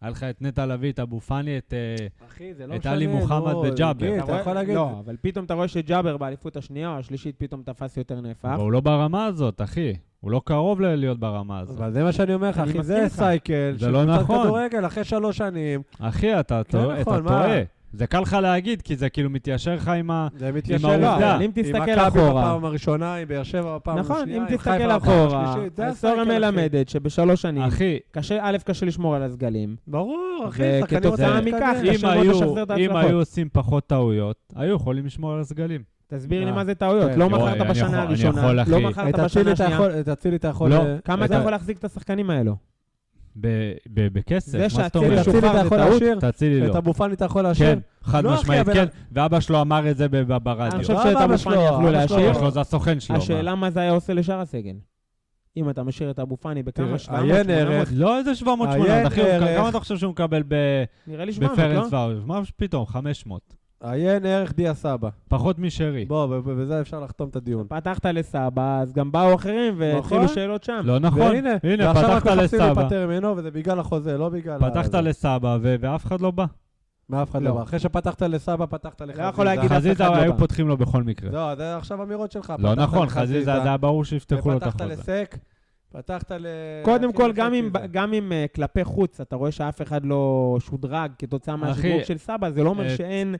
S3: היה לך את נטע לביא, את אבו פאני, את... אה,
S4: אחי, זה לא
S3: את
S4: משנה.
S3: עלי מוחמד
S4: נו,
S3: וג'אבר.
S4: גיל,
S2: אתה
S4: אתה
S2: רואה-
S4: יכול להגיד...
S2: לא, אבל פתאום אתה רואה שג'אבר באליפות השנייה או השלישית פתאום תפס יותר נהפך.
S3: אבל הוא לא ברמה הזאת, אחי. הוא לא קרוב ל- להיות ברמה הזאת.
S4: אבל זה מה שאני אומר לך,
S2: אני
S4: אחי,
S2: מסכים
S4: זה
S2: איתך.
S4: סייקל.
S3: זה
S4: של
S3: לא
S4: קבוצת
S3: נכון.
S4: כדורגל אחרי שלוש שנים.
S3: אחי, אתה
S2: כן,
S3: טועה- אתה
S4: נכון, מה?
S3: טועה. זה קל לך להגיד, כי זה כאילו מתיישר לך עם ה...
S4: זה מתיישר.
S3: העובדה.
S4: לא,
S2: אבל
S3: עובדה.
S2: אם תסתכל
S4: עם מכבי
S2: אחורה,
S4: בפעם הראשונה, עם באר שבע בפעם השנייה,
S2: נכון, אם
S4: עם חיפה
S2: תסתכל
S4: בפעם
S2: אחורה,
S4: השלישית, זה
S2: ההיסטוריה
S4: הסייקל, אחי.
S2: מלמדת שבשלוש שנים,
S3: אחי,
S2: קשה, א', קשה לשמור על הסגלים,
S4: ברור, אחי, שחקנים
S2: וכתוצאה
S4: רוצים
S2: מכך,
S4: להתקדם.
S2: קשה
S3: אם
S2: מאוד
S3: היו-
S2: לא לשחזר את
S3: אם
S2: ההצלחות.
S3: היו עושים פחות טעויות, היו יכולים לשמור על הסגלים.
S2: תסביר לי
S4: מה?
S2: מה זה טעויות,
S4: כן.
S2: לא
S3: יואי,
S2: מכרת
S3: אה, אני יכול-
S2: בשנה
S3: אני
S2: הראשונה,
S3: יכול,
S2: לא
S3: אחי.
S2: מכרת
S4: את אצילי
S2: בשנה
S4: אתה
S2: השנייה,
S4: יכול- את אצילי אתה יכול...
S3: לא.
S4: אה,
S2: כמה
S3: את
S2: אתה
S3: ה-
S2: יכול להחזיק את השחקנים האלו?
S3: ב- ב- בכסף,
S2: זה
S3: מה זאת
S2: שהצוות
S3: אומרת?
S4: את אצילי אתה
S2: שוחרר
S4: יכול
S2: בטעות?
S4: להשאיר?
S3: תצילי
S4: את
S3: לא.
S4: אבו פאני אתה יכול להשאיר?
S3: כן, חד
S4: לא, אחי,
S3: משמעית,
S4: אבל-
S3: כן. ואבא שלו אמר את זה ב- ב-
S2: אני
S3: ברדיו.
S2: חושב
S4: לא,
S2: שאת
S4: אבל
S2: אבו
S4: שלא,
S2: פאני יכלו
S4: אבל שלא.
S2: להשאיר,
S3: אבא שלו זה הסוכן שלו. מה?
S2: השאלה מה זה היה עושה לשאר הסגל. אם אתה משאיר את אבו פאני בכמה?
S4: תראה,
S2: 700,
S4: עיין
S2: 800?
S4: ערך.
S3: לא איזה 700-800,
S4: עיין
S3: אחי, הוא-
S4: ערך.
S3: כמה אתה חושב שהוא מקבל ב-
S2: נראה לי 700, לא?
S3: בפרנס ואוז'? מה פתאום, 500.
S4: עיין ערך דיה סבא.
S3: פחות משרי.
S4: בוא, ב- ב- בזה אפשר לחתום את הדיון.
S2: פתחת לסבא, אז גם באו אחרים והתחילו
S4: נכון.
S2: שאלות שם.
S3: לא נכון,
S4: והנה,
S3: הנה,
S4: ועכשיו
S3: פתחת
S4: אנחנו מחפשים
S3: לסבא.
S4: להיפטר ממנו, וזה בגלל החוזה, לא בגלל...
S3: פתחת
S4: ה-
S3: לסבא ו- ואף אחד לא בא.
S4: מאף אחד
S2: לא.
S4: לא. בא. אחרי שפתחת לסבא, פתחת לחזיזה.
S2: יכול להגיד אף
S3: חזיזה
S2: אחד לא
S3: היו
S2: בא.
S3: פותחים לו בכל מקרה.
S4: לא, זה עכשיו אמירות שלך.
S3: לא
S4: פתחת
S3: נכון,
S4: לחזיזה,
S3: חזיזה, לא זה היה ברור שיפתחו לו את
S4: ופתחת
S3: החוזה.
S4: לסק, פתחת ל...
S3: אה,
S2: קודם
S4: אחי, לא
S2: כל,
S4: לסק
S2: גם אם-
S4: חזיזה.
S2: גם אם אה, כלפי חוץ, אתה רואה שאף אחד לא שודרג כתוצאה מהשדרוג של סבא, זה לא אומר
S3: את-
S2: שאין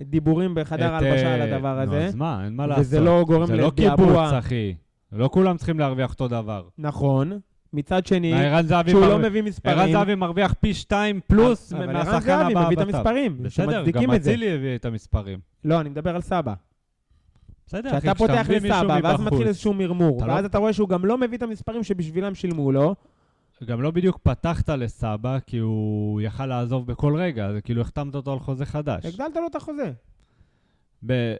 S2: דיבורים בחדר
S3: את,
S2: ההלבשה
S3: אה,
S2: על הדבר
S3: נו,
S2: הזה,
S3: אז מה, אין מה לעשות.
S2: וזה לא גורם
S3: זה לא
S2: לדעבוע.
S3: קיבוץ, אחי. לא כולם צריכים להרוויח אותו דבר.
S2: נכון. מצד שני,
S3: ערן זהבי
S2: שהוא
S3: מר-
S2: לא מביא
S3: ערן
S2: מספרים.
S3: זהבי מרוויח פי שתיים פלוס
S2: אבל
S3: מהשחקן
S2: ערן
S3: הבא.
S2: זהבי מביא את
S3: בטח.
S2: המספרים,
S3: בסדר,
S2: שמצדיקים
S3: גם
S2: את זה.
S3: אצילי הביא את המספרים.
S2: לא, אני מדבר על סבא.
S3: בסדר, אחי,
S2: כשאתה פותח
S3: כשאתה מביא מישהו
S2: לסבא, ואז מתחיל
S3: מבחוץ,
S2: איזשהו מרמור,
S3: אתה לא-
S2: ואז אתה רואה שהוא גם לא מביא את המספרים שבשבילם שילמו לו,
S3: גם לא בדיוק פתחת לסבא, כי הוא יכל לעזוב בכל רגע, זה כאילו החתמת אותו על חוזה חדש.
S2: הגדלת לו את החוזה.
S3: ב-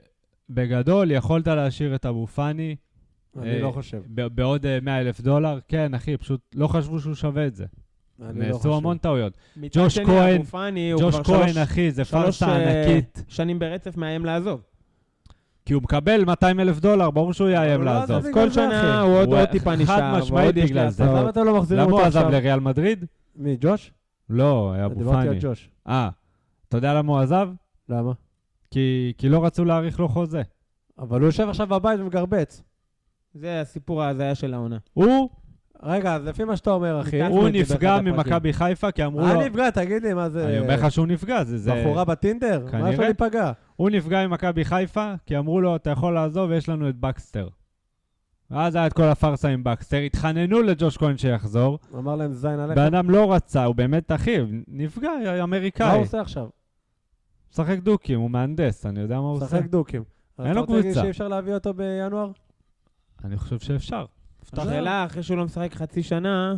S3: בגדול, יכולת להשאיר את אבו פאני אה,
S4: אני לא חושב.
S3: ב- בעוד 100 אלף דולר. כן, אחי, פשוט לא חשבו שהוא שווה את זה.
S4: אני לא
S3: נעשו המון
S4: חושב.
S3: טעויות.
S2: מצד
S3: ג'וש
S2: שני,
S3: כהן-
S2: אבו פאני הוא
S3: ג'וש
S2: כבר שלוש-
S3: כהן, אחי, זה
S2: שלוש,
S3: פארסה
S2: אה,
S3: ענקית.
S2: שנים ברצף מאיים לעזוב.
S3: כי הוא מקבל 200 אלף דולר, ברור שהוא יאיים
S4: אבל לא
S3: לעזוב.
S4: עזב
S2: כל
S4: בגלל זה,
S2: שנה
S4: אחי.
S2: הוא עוד
S3: הוא
S2: עוד טיפה
S3: חד
S2: נשאר.
S3: משמעית
S2: ועוד יש
S3: בגלל
S2: לי
S3: זה.
S2: הצעה.
S4: אז למה אתם לא מחזירים
S3: למה
S4: אותו
S3: הוא עזב
S4: עכשיו?
S3: לריאל מדריד?
S4: מי, ג'וש?
S3: לא, היה אבו
S4: דיברתי על
S3: פאני.
S4: ג'וש.
S3: אה, אתה יודע למה הוא עזב?
S4: למה?
S3: כי, כי לא רצו להאריך לו חוזה.
S4: אבל הוא יושב עכשיו בבית ומגרבץ.
S2: זה הסיפור ההזיה של העונה.
S3: הוא,
S4: רגע, אז לפי מה שאתה אומר, אחי.
S2: ניתן- אנחנו
S3: הוא
S2: נדבר
S3: נפגע
S2: באחד הפרקים.
S3: ממכבי חיפה, כי אמרו
S4: מה
S3: לו...
S4: נפגע? תגיד לי, מה זה...
S3: אני אומר לך שהוא נפגע, זה... זה...
S4: בחורה בטינדר?
S3: כנראה.
S4: מה יש לו להיפגע?
S3: הוא נפגע ממכבי חיפה, כי אמרו לו, אתה יכול לעזוב, יש לנו את בקסטר. ואז היה את כל הפארסה עם בקסטר, התחננו לג'וש כהן שיחזור,
S4: הוא אמר להם זין עליך.
S3: בן אדם לא רצה, הוא באמת אחיו, נפגע,
S4: מה הוא
S3: אמריקאי.
S4: עושה עכשיו?
S3: משחק דוקים, הוא מהנדס, אני יודע מה הוא עושה.
S4: משחק דוקים. אז
S3: אין
S4: אתה
S3: לו
S4: רוצה להגיד
S3: קבוצה.
S4: שאי אפשר להביא אותו בינואר?
S3: אני חושב שאפשר.
S2: השאלה, אחרי שהוא לא משחק חצי שנה,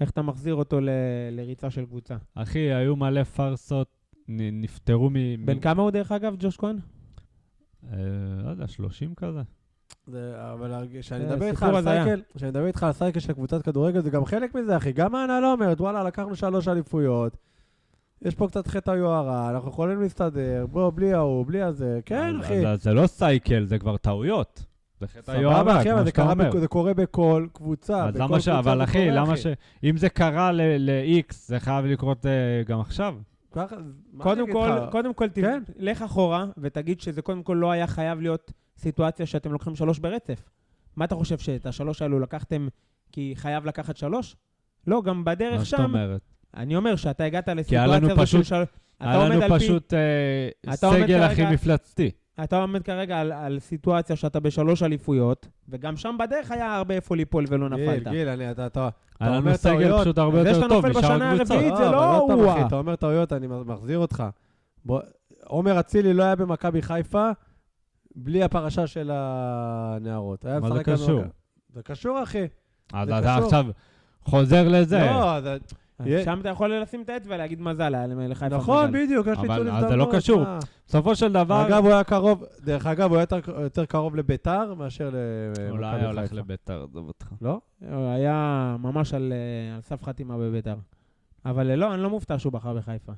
S2: איך אתה מחזיר אותו ל- לריצה של קבוצה?
S3: אחי, היו מלא פארסות, נ- נפטרו מ...
S2: בן
S3: מ-
S2: כמה הוא דרך אגב, ג'וש כהן?
S3: אה, לא יודע, 30 כזה.
S4: זה, אבל כשאני
S2: זה
S4: מדבר איתך
S2: סיפור
S4: על
S2: הזיה.
S4: סייקל, כשאני מדבר איתך על סייקל של קבוצת כדורגל, זה גם חלק מזה, אחי. גם ההנהלה אומרת, וואלה, לקחנו שלוש אליפויות, יש פה קצת חטא היוהרה, אנחנו יכולים להסתדר, בוא, בלי ההוא, בלי הזה. כן,
S3: אז-
S4: אחי.
S3: אז זה לא סייקל, זה כבר טעויות. זה חטא
S4: סבבה,
S3: היוהרה,
S4: אחי, אבל זה
S3: כמו שאתה
S4: קרה
S3: אומר.
S4: בכ- זה קורה בכל קבוצה.
S3: אז
S4: בכל
S3: למה ש...
S4: קבוצה
S3: אבל
S4: זה
S3: אחי,
S4: קורה,
S3: למה ש... אם זה קרה ל-X, זה חייב לקרות אה, גם עכשיו.
S4: ככה, מה אני
S2: קודם
S4: אגיד
S2: כל,
S4: לך?
S2: קודם כל, תב-
S4: כן.
S2: לך אחורה ותגיד שזה קודם כל לא היה חייב להיות סיטואציה שאתם לוקחים שלוש ברצף. מה אתה חושב, שאת השלוש האלו לקחתם כי חייב לקחת שלוש? לא, גם
S3: מה
S2: בדרך
S3: זאת
S2: שם,
S3: אומרת?
S2: אני אומר שאתה הגעת
S3: היה לנו
S2: לסיטואציה הזו של
S3: פשוט-
S2: שלוש... אתה
S3: היה
S2: עומד
S3: לנו
S2: על פי-
S3: פשוט אה,
S2: אתה עומד
S3: סגל הכי
S2: כרגע-
S3: מפלצתי.
S2: אתה עומד כרגע על, על סיטואציה שאתה בשלוש אליפויות, וגם שם בדרך היה הרבה איפה ליפול ולא
S4: גיל,
S2: נפלת.
S4: גיל, אני- אתה... אתה-
S3: היה לנו
S4: אומר
S3: סגל
S4: טעויות,
S3: פשוט הרבה
S2: זה
S3: יותר
S2: שאתה
S3: טוב
S2: נופל
S3: משאר
S2: בשנה
S3: הקבוצות.
S2: הרביעית, זה לא
S4: אבל עוד פעם,
S2: הוא.
S4: אחי, אתה אומר טעויות, אני מחזיר אותך. בוא, עומר אצילי לא היה במכבי חיפה בלי הפרשה של הנערות. היה
S3: מה זה
S4: משחק גם
S3: קשור?
S4: במכבי- זה קשור, אחי.
S3: אז
S4: זה
S3: אתה
S4: קשור.
S3: עכשיו חוזר לזה.
S4: לא, זה-
S2: אז
S4: יהיה-
S2: אה, שם אתה יכול לשים את האצבע ולהגיד מזל, היה לחיפה מזל.
S4: נכון, בדיוק, יש
S3: אבל-
S4: ניצול
S3: אז
S4: הזדמנות.
S3: זה לא קשור.
S4: מה?
S3: בסופו של דבר,
S4: אגב, הוא היה קרוב, דרך אגב, הוא היה יותר- יותר קרוב לביתר מאשר למכבי
S3: אולי היה הולך
S4: חיפה.
S3: לביתר, עזוב אותך.
S4: לא?
S2: הוא היה ממש על, אה, על סף חתימה בביתר. אבל אה, לא, אני לא מופתע שהוא בחר בחיפה. גם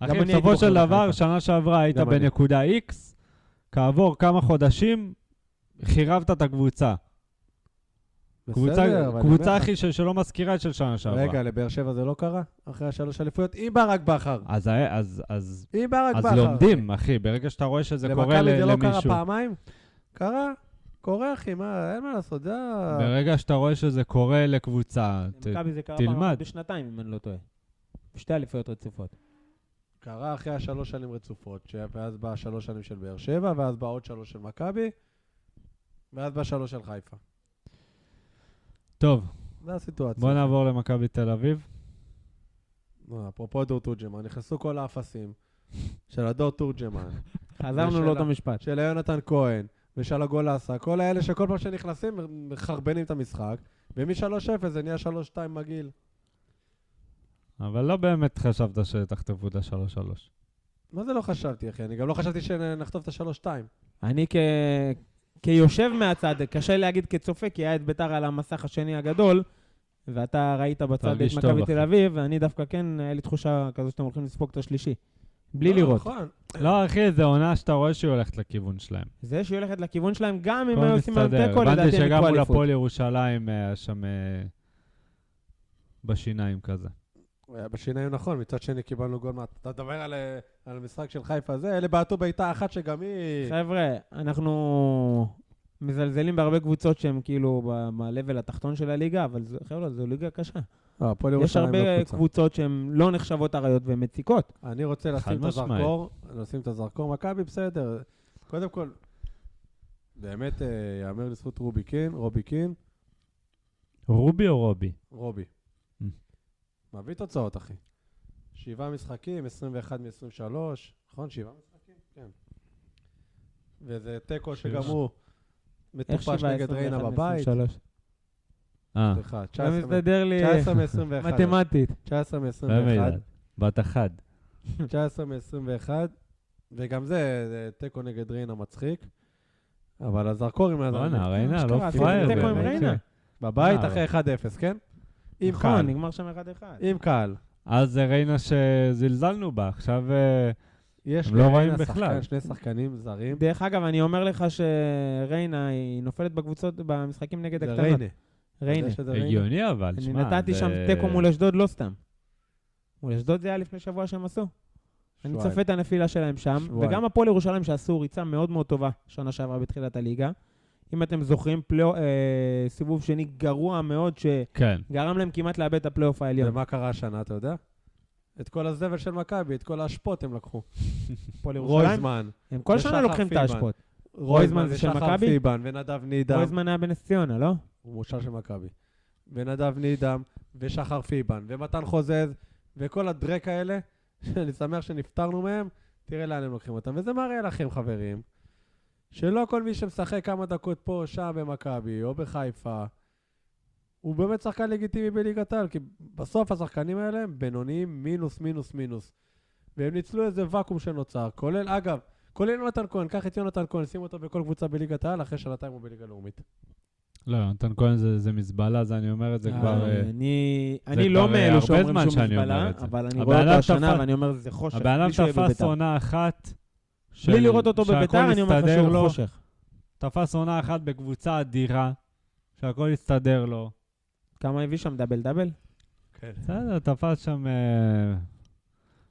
S3: אחי,
S2: אני הייתי
S3: בסופו של
S2: בוחר
S3: דבר,
S2: בחיפה.
S3: שנה שעברה היית
S4: גם אני.
S3: בנקודה X, כעבור כמה חודשים, חירבת את הקבוצה. קבוצה-
S4: בסדר, אבל אני
S3: קבוצה,
S4: אומר לך-
S3: אחי, של- שלא מזכירה את של שנה שעברה.
S4: רגע, לבאר שבע זה לא קרה? אחרי השלוש אליפויות, עם ברק בכר.
S3: אז ה- אז- אז-
S4: עם ברק
S3: אז
S4: בכר.
S3: לומדים, אחי, ברגע שאתה רואה שזה קורה ל-
S4: למכבי זה לא קרה
S3: למישהו.
S4: פעמיים? קרה, קורה אחי, מה, אין מה לעשות, זה ה...
S3: ברגע שאתה רואה שזה קורה לקבוצה, ת-
S2: למכבי זה קרה
S3: תלמד.
S2: פעם בשנתיים, אם אני לא טועה. בשתי אליפויות רצופות.
S4: קרה אחרי השלוש שנים רצופות, ש- ואז בא שלוש שנים של באר שבע, ואז בא עוד שלוש של מכבי, ואז בא שלוש של חיפה.
S3: טוב,
S4: זה הסיטואציה.
S3: בוא נעבור למכבי תל אביב.
S4: נו, אפרופו דור תורג'מן, נכנסו כל האפסים של הדור תורג'מן,
S2: חזרנו
S4: שאלה.
S2: לאותו משפט.
S4: של יונתן כהן ושל הגולסה, כל האלה שכל פעם שנכנסים מחרבנים את המשחק, ומ-3-0 זה נהיה 3-2 מגעיל.
S3: אבל לא באמת חשבת שתחטפו את השלוש שלוש.
S4: מה זה לא חשבתי, אחי? אני גם לא חשבתי שנחטוף את ה-3-2.
S2: אני כ... כיושב מהצד, קשה להגיד כצופה, כי היה את ביתר על המסך השני הגדול, ואתה ראית בצד את
S3: תרגיש טוב,
S2: מכבי
S3: אחי.
S2: תל אביב, ואני דווקא כן, היה לי תחושה כזו שאתם הולכים לספוג את השלישי. בלי לראות.
S4: נכון.
S3: לא, אחי, זו עונה שאתה רואה שהיא הולכת לכיוון שלהם.
S2: זה שהיא הולכת לכיוון שלהם, גם אם
S3: הכל
S2: היו עושים על
S3: מסתדר.
S2: תיקו,
S3: הבנתי
S2: לדעתי הם
S3: שגם
S2: יקחו
S3: מול
S2: אליפות.
S3: הפועל ירושלים היה שם אה, בשיניים כזה.
S4: הוא היה בשיניים נכון, מצד שני קיבלנו גול מה... אתה מדבר על, אה, על המשחק של חיפה זה, אלה בעטו בעיטה אחת שגם היא...
S2: חבר'ה, אנחנו מזלזלים בהרבה קבוצות שהן כאילו ב- ב-level התחתון של הליגה, אבל זה- חבר'ה, זו ליגה קשה.
S4: לא, הפועל
S2: יש
S4: ירושלים לא
S2: הרבה
S4: קבוצה.
S2: קבוצות שהן לא נחשבות אריות והן מציקות.
S4: אני רוצה
S3: חד
S4: לשים את
S3: משמעית.
S4: הזרקור, לשים את הזרקור, מכבי בסדר. קודם כל, באמת, אה, יאמר לזכות רובי קין, רובי קין,
S3: רובי או רובי?
S4: רובי.
S3: Mm.
S4: מביא תוצאות, אחי. שבעה משחקים, 21 מ-23, נכון? שבעה משחקים? כן. וזה תיקו
S3: שבעה.
S4: שגם הוא
S2: איך
S4: מטופש
S2: שבעה,
S4: נגד
S2: 21,
S4: ריינה בבית.
S2: 23?
S3: אה,
S4: סליחה,
S2: זה מסתדר לי
S4: 19 מ-21.
S2: מתמטית.
S4: 19
S3: באמת,
S4: מ-21.
S3: בת אחת.
S4: אה, 19 מ-21, וגם זה, זה תיקו נגד ריינה מצחיק. אבל הזרקור עם
S3: בואנה,
S4: הזרקור.
S3: ריינה, לא
S2: אשכרה, עשיתם
S3: פראייר.
S4: תיקו עם
S3: באמת.
S2: ריינה.
S4: בבית
S3: אה,
S4: אחרי 1-0, כן? עם
S2: נכון,
S4: קהל.
S2: נגמר שם 1-1.
S4: עם קהל.
S3: אז זה ריינה שזלזלנו בה, עכשיו... אה,
S4: יש
S3: הם לא
S4: לריינה
S3: רואים
S4: שחקן,
S3: בכלל.
S4: שני שחקנים זרים.
S2: דרך אגב, אני אומר לך שריינה, היא נופלת בקבוצות, במשחקים נגד
S4: זה
S2: הקטנות.
S4: ריינה.
S2: ריינה.
S4: זה שזה ריינה.
S3: הגיוני אבל,
S2: אני
S3: שמע,
S2: נתתי
S3: זה-
S2: שם תיקו מול אשדוד לא סתם. מול אשדוד זה היה לפני שבוע שהם עשו. אני
S4: שבועיים.
S2: צופה את הנפילה שלהם שם,
S4: שבועיים.
S2: וגם הפועל ירושלים שעשו ריצה מאוד מאוד טובה שנה שעברה בתחילת הליגה. אם אתם זוכרים, פלאו, אה, סיבוב שני גרוע מאוד,
S3: כן.
S2: שגרם להם כמעט לאבד את הפלייאוף העליון.
S4: ומה קרה השנה, אתה יודע? את כל הזבל של מכבי, את כל האשפות הם לקחו.
S2: הפועל ירושלים,
S4: רויזמן.
S2: הם כל שנה
S4: ושחר
S2: לוקחים את
S4: פילבן.
S2: האשפות. רויזמן זה של
S4: ושחר
S2: מכבי?
S4: פיבן, ונדב נידם.
S2: רויזמן היה בנס ציונה, לא?
S4: הוא מושל של מכבי. ונדב נידם, ושחר פיבן, ומתן חוזז, וכל הדרק האלה, שאני שמח שנפטרנו מהם, תראה לאן הם לוקחים אותם. וזה מראה לכם, חברים, שלא כל מי שמשחק כמה דקות פה או שם במכבי, או בחיפה, הוא באמת שחקן לגיטימי בליגת העל, כי בסוף השחקנים האלה הם בינוניים מינוס, מינוס, מינוס. והם ניצלו איזה ואקום שנוצר, כולל, אגב, כולל יונתן כהן, קח את יונתן כהן, שים אותו בכל קבוצה בליגת העל, אחרי שנתיים הוא בליגה לאומית.
S3: לא, יונתן כהן זה זה מזבלה, זה אני אומר את זה כבר... אה,
S2: אני
S3: זה
S2: לא אני לא
S3: כבר, אה,
S2: מאלו
S3: הרבה
S2: שאומרים
S3: זמן
S2: שהוא
S3: שאני אומר
S2: מזבלה,
S3: את זה.
S2: אבל אני
S3: הבן
S2: רואה אותו
S3: אדם
S2: השנה
S3: תפס-
S2: ואני אומר, זה חושך,
S3: הבן אדם
S2: מישהו יהיה
S3: תפס
S2: בביתר.
S3: עונה אחת... של-
S2: בלי לראות אותו
S3: שהכל
S2: בביתר, אני אומר לך
S3: הסתדר
S2: שהוא
S3: לו,
S2: חושך.
S3: תפס עונה אחת בקבוצה אדירה, שהכל הסתדר לו.
S2: כמה הביא שם דאבל דאבל?
S4: כן.
S3: בסדר, תפס שם... אה,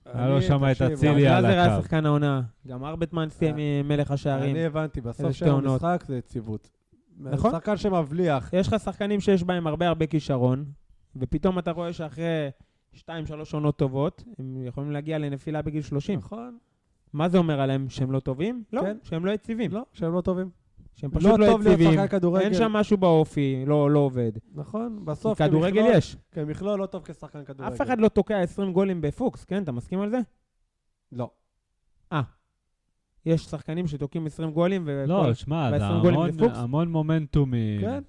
S3: היה לו
S4: אני,
S3: שם את
S4: תקשיב,
S3: אצילי
S2: גלאזר
S3: על
S2: היה
S3: הקו. אה.
S2: שחקן העונה, גם ארבטמן סיים מלך השערים.
S4: אני הבנתי, בסוף
S2: איזה שתי
S4: של
S2: עונות.
S4: המשחק זה יציבות.
S2: נכון.
S4: שחקן שמבליח.
S2: יש לך שחקנים שיש בהם הרבה הרבה כישרון, ופתאום אתה רואה שאחרי 2-3 עונות טובות, הם יכולים להגיע לנפילה בגיל 30.
S4: נכון.
S2: מה זה אומר עליהם? שהם לא טובים? לא,
S4: כן.
S2: שהם לא יציבים.
S4: לא, שהם לא טובים.
S2: שהם פשוט
S4: לא
S2: לא
S4: טוב להיות
S2: יציבים.
S4: שחקן כדורגל.
S2: אין שם משהו באופי, לא לא עובד.
S4: נכון,
S2: כי
S4: בסוף
S2: כדורגל
S4: כמכלול-
S2: יש.
S4: כמכלול לא טוב כשחקן כדורגל.
S2: אף אחד לא תוקע 20 גולים בפוקס, כן? אתה מסכים על זה? אה.
S4: לא.
S2: יש שחקנים שתוקעים 20 גולים, וכל...
S3: לא, שמע, זה
S2: 20 גולים
S3: המון-
S2: לפוקס.
S3: המון מומנטומים.
S4: כן,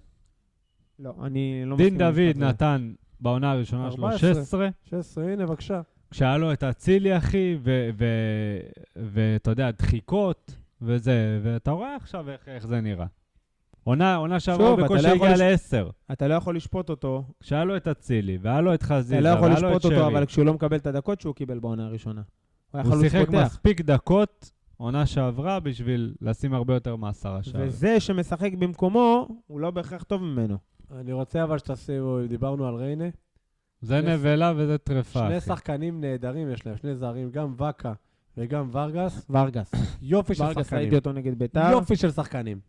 S2: לא, אני לא
S3: דין
S2: מסכים. עם
S3: דוד
S2: זה.
S3: נתן בעונה הראשונה שלו
S4: 14.
S3: 16,
S2: לא-
S4: 16, הנה, בבקשה.
S3: כשהיה לו את אצילי, אחי, ו- ו- ואתה יודע, דחיקות וזה, ואתה רואה עכשיו איך- איך זה נראה. עונה עונה שעברה
S2: שוב, אתה
S3: בקושי
S2: לא יכול
S3: הגיעה
S2: לש-
S3: לעשר.
S2: אתה לא יכול לשפוט אותו
S3: כשהיה לו את אצילי, והיה לו את חזיזה,
S2: אתה לא יכול
S3: והיה לו את
S2: לשפוט אותו, אבל
S3: שרי.
S2: כשהוא לא מקבל את הדקות שהוא קיבל בעונה הראשונה. הוא היה
S3: הוא
S2: חלוץ
S3: שיחק
S2: פותח.
S3: מספיק דקות עונה שעברה בשביל לשים הרבה יותר מעשרה שערים.
S2: וזה שמשחק במקומו, הוא לא בהכרח טוב ממנו.
S4: אני רוצה אבל שתשימו, דיברנו על ריינה.
S3: זה
S4: שני-
S3: נבלה וזה טרפה,
S4: שני
S3: אחי.
S4: שחקנים נהדרים יש להם, שני זרים, גם ואקה וגם ורגס.
S2: ורגס.
S4: יופי של
S2: ורגס,
S4: שחקנים.
S2: ראיתי אותו נגד ביתר.
S4: יופי של שחקנים.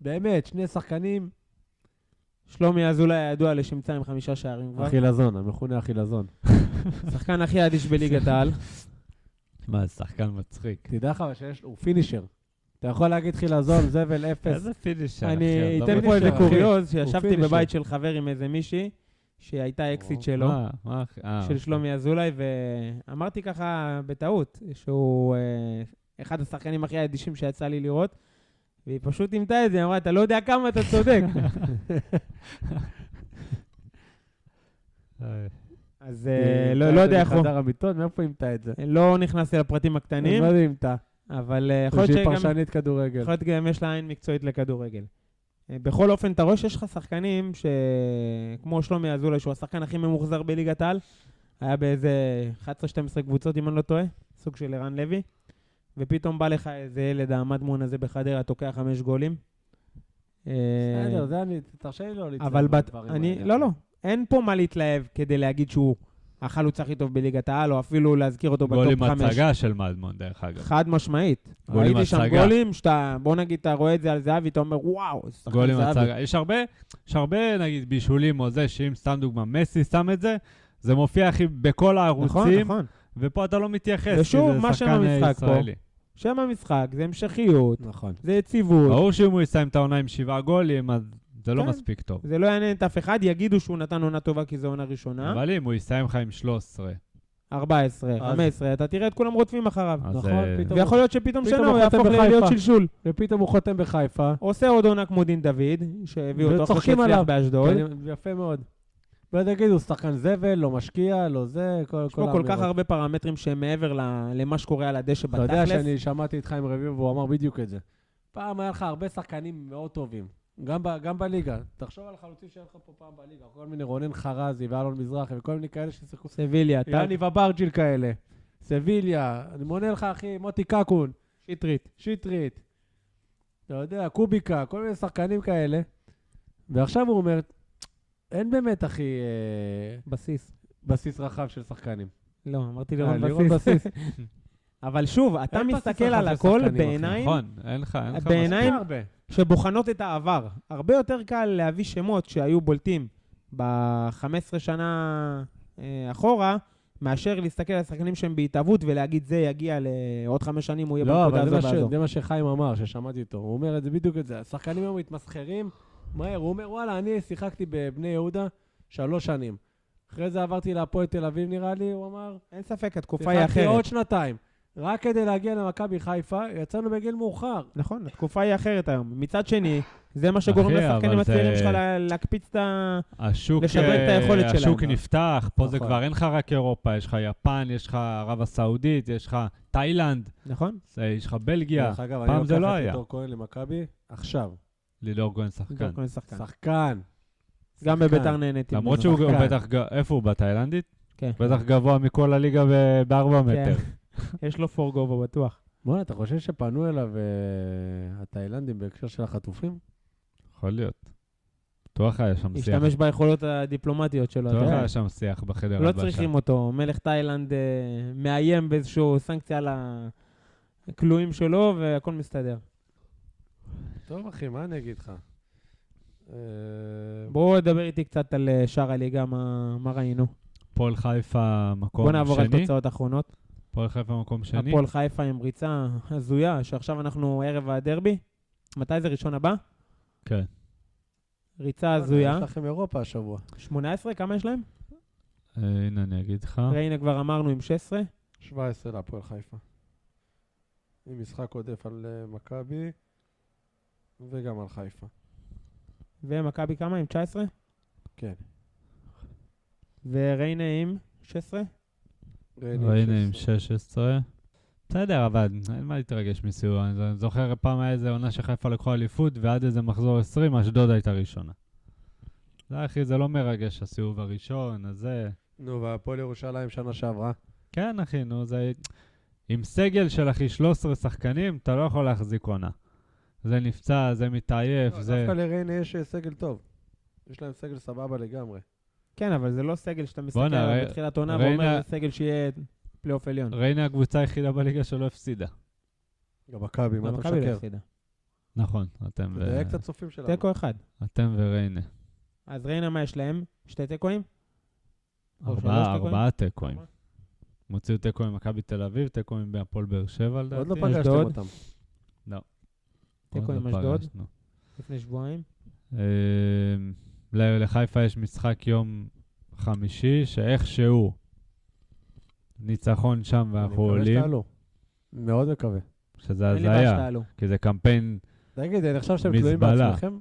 S4: באמת, שני שחקנים.
S2: שלומי אזולאי הידוע לשמצה עם חמישה שערים כבר.
S4: אחילזון, המכונה אחילזון.
S2: שחקן הכי אדיש בליגת העל.
S3: מה, זה שחקן מצחיק.
S4: תדע לך שיש, הוא פינישר. אתה יכול להגיד חילזון, זבל אפס.
S3: איזה פינישר, אחי. לא
S2: אני
S3: עזוב
S2: אתן
S3: אותי.
S2: פה איזה
S4: אחי.
S2: קוריוז,
S4: הוא
S2: שישבתי
S4: פינישר.
S2: בבית של חבר עם איזה מישהי, שהייתה אקסיט
S4: או,
S2: שלו.
S3: מה, מה, אחי? אה,
S2: לא? של
S3: אוקיי.
S2: שלומי אזולאי, ואמרתי ככה בטעות, שהוא אה, אחד השחקנים הכי אדישים שיצא לי לראות, והיא פשוט אימתה את זה, היא אמרה, אתה לא יודע כמה אתה צודק.
S3: אה,
S2: אז אה, לא לא יודע איך הוא,
S4: חדר המיטות, מאיפה אימתה את זה?
S2: לא נכנסתי לפרטים הקטנים,
S4: לא אימתה.
S2: אבל אה, יכול להיות
S4: שהיא
S2: שגם-
S4: פרשנית כדורגל.
S2: יכול להיות גם יש לה עין מקצועית לכדורגל. אה, בכל אופן, אתה רואה שיש לך שחקנים שכמו שלומי אזולאי, שהוא השחקן הכי ממוחזר בליגת העל, היה באיזה 11-12 קבוצות, אם אני לא טועה, סוג של ערן לוי, ופתאום בא לך איזה ילד, המדמון הזה בחדרה, תוקע חמש גולים. אה,
S4: בסדר, זה אני, תרשה לי לא להתלהב.
S2: אבל בת,
S4: מהדברים
S2: אני,
S4: האלה.
S2: לא, לא. אין פה מה להתלהב כדי להגיד שהוא החלוץ הכי טוב בליגת העל, או אפילו להזכיר אותו
S3: גולים
S2: בטופ חמש.
S3: הצגה של מדמון, דרך אגב.
S2: חד משמעית.
S3: גולים
S2: ראיתי שם
S3: הצגה.
S2: גולים שאתה, בוא נגיד, אתה רואה את זה על זהבי, אתה אומר, וואו, איזה שחקן
S3: גולים
S2: זהבי."
S3: הצגה. יש הרבה, יש הרבה, נגיד, בישולים או זה, שאם סתם דוגמה, מסי שם את זה, זה מופיע, אחי, בכל
S2: נכון,
S3: הערוצים,
S2: נכון.
S3: ופה אתה לא מתייחס,
S2: ושוב,
S3: כי זה
S2: מה שם
S3: שחקן אה,
S2: המשחק פה?
S3: ישראלי.
S2: שם המשחק זה המשכיות,
S4: נכון.
S2: זה יציבות.
S3: ברור שאם הוא יסיים את העונה עם שבעה גולים, אז זה לא
S2: כן.
S3: מספיק טוב.
S2: זה לא יעניין את אף אחד, יגידו שהוא נתן עונה טובה כי זו עונה ראשונה.
S3: אבל אם הוא יסיים לך עם 13,
S2: 14, 15, אתה תראה את כולם רודפים אחריו.
S3: אז
S4: נכון,
S3: אה,
S4: פתאום.
S2: ויכול להיות שפתאום
S4: פתאום
S2: שנה הוא
S4: החותם
S2: יהפוך
S4: בחיפה.
S2: להיות שלשול.
S4: ופתאום הוא חותם בחיפה.
S2: עושה עוד עונה כמו דין דוד, שהביאו אותו אחרי
S4: וצוחקים
S2: שהצליח
S4: עליו.
S2: באשדוד.
S4: כן, יפה מאוד. ואז יגידו, שחקן זבל, לא משקיע, לא זה, כל
S2: יש פה כל
S4: האמירות.
S2: כך הרבה פרמטרים שהם מעבר ל- למה שקורה על הדשא
S4: אתה יודע
S2: בתכלס.
S4: שאני שמעתי איתך עם רביבו, והוא אמר בדיוק את זה. פעם היה לך הרבה שחקנים מאוד טובים, גם, ב, גם בליגה. תחשוב על חלוצים שהיה לך פה פעם בליגה, כל מיני רונן חרזי ואלון מזרחי וכל מיני כאלה ששיחקו.
S2: סביליה, טל,
S4: יאני וברג'יל כאלה, סביליה, אני מונה לך אחי, מוטי קקון,
S2: שטרית.
S4: שטרית, אתה יודע, קוביקה, כל מיני שחקנים כאלה. ועכשיו הוא אומר, אין באמת אחי אה,
S2: בסיס.
S4: בסיס רחב של שחקנים.
S2: לא, אמרתי
S4: אה,
S2: לירון
S4: לירון
S2: בסיס. אבל שוב, אתה
S4: אין בסיס
S2: מסתכל
S4: רחב
S2: על
S4: של
S2: הכל
S4: שחקנים, אחי.
S2: בעיניים
S3: נכון, אין לך, אין לך
S2: בעיניי-
S4: אין הרבה.
S2: שבוחנות את העבר. הרבה יותר קל להביא שמות שהיו בולטים ב-15 שנה אה, אחורה, מאשר להסתכל על השחקנים שהם בהתהוות ולהגיד זה יגיע לעוד חמש שנים, הוא יהיה
S4: לא,
S2: בנקודה
S4: אבל זה
S2: הזו
S4: מה, ש...
S2: והזו.
S4: זה מה שחיים אמר, ששמעתי אותו. הוא אומר את זה בדיוק את זה. השחקנים היום מתמסחרים מהר. הוא אומר, וואלה, אני שיחקתי בבני יהודה שלוש שנים. אחרי זה עברתי להפועל תל אביב, נראה לי, הוא אמר.
S2: אין ספק, התקופה היא
S4: שיחקתי עוד
S2: אחרת.
S4: שנתיים. רק כדי להגיע למכבי חיפה, יצאנו בגיל מאוחר.
S2: נכון, התקופה היא אחרת היום. מצד שני, זה מה שגורם
S3: אחי,
S2: לשחקנים
S3: אבל
S2: הצעירים
S3: זה-
S2: שלך לה- להקפיץ את ה...
S3: השוק,
S2: לשדרג את
S3: אה,
S2: היכולת שלהם.
S3: השוק נפתח, פה זה
S4: נכון.
S3: כבר אין לך רק אירופה, יש לך יפן, יש לך ערב הסעודית, יש לך תאילנד,
S2: נכון?
S3: אה, יש לך בלגיה.
S4: דרך אגב,
S3: פעם
S4: אני
S3: זה לא
S4: לוקח את
S3: היה.
S4: לידור כהן למכבי עכשיו.
S3: לידור כהן כן. שחקן.
S2: דורקון
S4: כן.
S2: שחקן.
S4: שחקן.
S2: גם
S4: שחקן.
S2: בביתר נהניתי.
S3: למרות
S2: ממנו.
S3: שהוא הוא
S4: שחקן.
S3: בטח, ג- איפה הוא? בתאילנדית?
S2: כן.
S3: בטח גבוה מכל הליגה ב- בארבע מטר.
S2: יש לו פור גובה בטוח.
S4: בואנה, אתה חושב שפנו אליו אה, התאילנדים בהקשר של החטופים?
S3: יכול להיות. בטוח היה שם שיח.
S2: השתמש ביכולות הדיפלומטיות שלו. אתה
S3: בטוח
S2: יודע.
S3: היה שם שיח בחדר
S2: לא
S3: הלבשה.
S2: צריכים אותו. מלך תאילנד אה, מאיים באיזשהו סנקציה על הכלואים שלו, והכל מסתדר.
S4: טוב, אחי, מה אני אגיד לך? אה,
S2: בואו נדבר איתי קצת על אה, שאר הליגה, מה, מה ראינו.
S3: הפועל חיפה
S2: בואו
S3: מקום
S2: נעבור על
S3: שני.
S2: תוצאות אחרונות.
S3: הפועל חיפה מקום שני.
S2: הפועל חיפה עם ריצה הזויה, שעכשיו אנחנו ערב הדרבי. מתי זה ראשון הבא?
S3: כן.
S2: ריצה הזויה.
S4: יש לכם אירופה השבוע.
S2: 18, כמה יש להם?
S3: אה, הנה אני אגיד לך.
S2: הנה כבר אמרנו עם 16.
S4: 17 להפועל חיפה. עם משחק עודף על אה, מכבי וגם על חיפה.
S2: ומכבי כמה? עם 19?
S4: כן.
S2: וריינה עם 16?
S4: ריינה
S3: ראינו עם
S4: 16.
S3: 16. בסדר, אבל אין מה להתרגש מסיור. אני ז- זוכר פעם היה איזה עונה שחיפה לקחו אליפות, ועד איזה מחזור 20, אשדוד הייתה ראשונה. לא, אחי, זה לא מרגש, הסיבוב הראשון, אז זה...
S4: נו, והפועל ירושלים שנה שעברה.
S3: כן, אחי, נו, זה... עם סגל של אחי 13 שחקנים, אתה לא יכול להחזיק עונה. זה נפצע, זה מתעייף,
S4: לא,
S3: זה...
S4: דווקא לריינה יש אה, סגל טוב. יש להם סגל סבבה לגמרי.
S2: כן, אבל זה לא סגל שאתה מסתכל
S3: בואנה,
S2: עליו
S3: רי-
S2: בתחילת עונה
S3: ריינה-
S2: ואומר, זה סגל שיהיה פלייאוף עליון.
S3: ריינה הקבוצה היחידה בליגה שלא הפסידה.
S4: גם מכבי, מה אתה
S2: מכבי לא
S4: משקר? לא,
S2: הפסידה.
S3: נכון, אתם, ו...
S4: תדייק את הצופים שלנו.
S2: תיקו אחד.
S3: אתם וריינה.
S2: אז ריינה, מה יש להם? שתי תיקואים? או שלוש
S3: ארבעה,
S2: תיקואים?
S3: ארבעה תיקואים.
S2: ארבעה.
S3: הם הוציאו תיקו עם מכבי תל אביב, תיקו עם הפועל באר שבע לדעתי.
S4: עוד לא
S2: אשדוד.
S4: פגשתם אותם.
S2: תיקו
S3: עוד
S2: עם
S3: לא
S2: אשדוד.
S3: פגשנו.
S2: לפני שבועיים.
S3: אמ, ל- לחיפה יש משחק יום חמישי, שאיכשהו ניצחון שם ואנחנו
S4: אני מקווה
S3: עולים,
S4: שתעלו. מאוד מקווה.
S3: שזה
S2: אין לי בעיה
S3: הזיה,
S2: שתעלו.
S3: כי זה קמפיין,
S4: תגיד, אני חושב שאתם תלויים
S3: מזבלה.
S4: בעצמכם?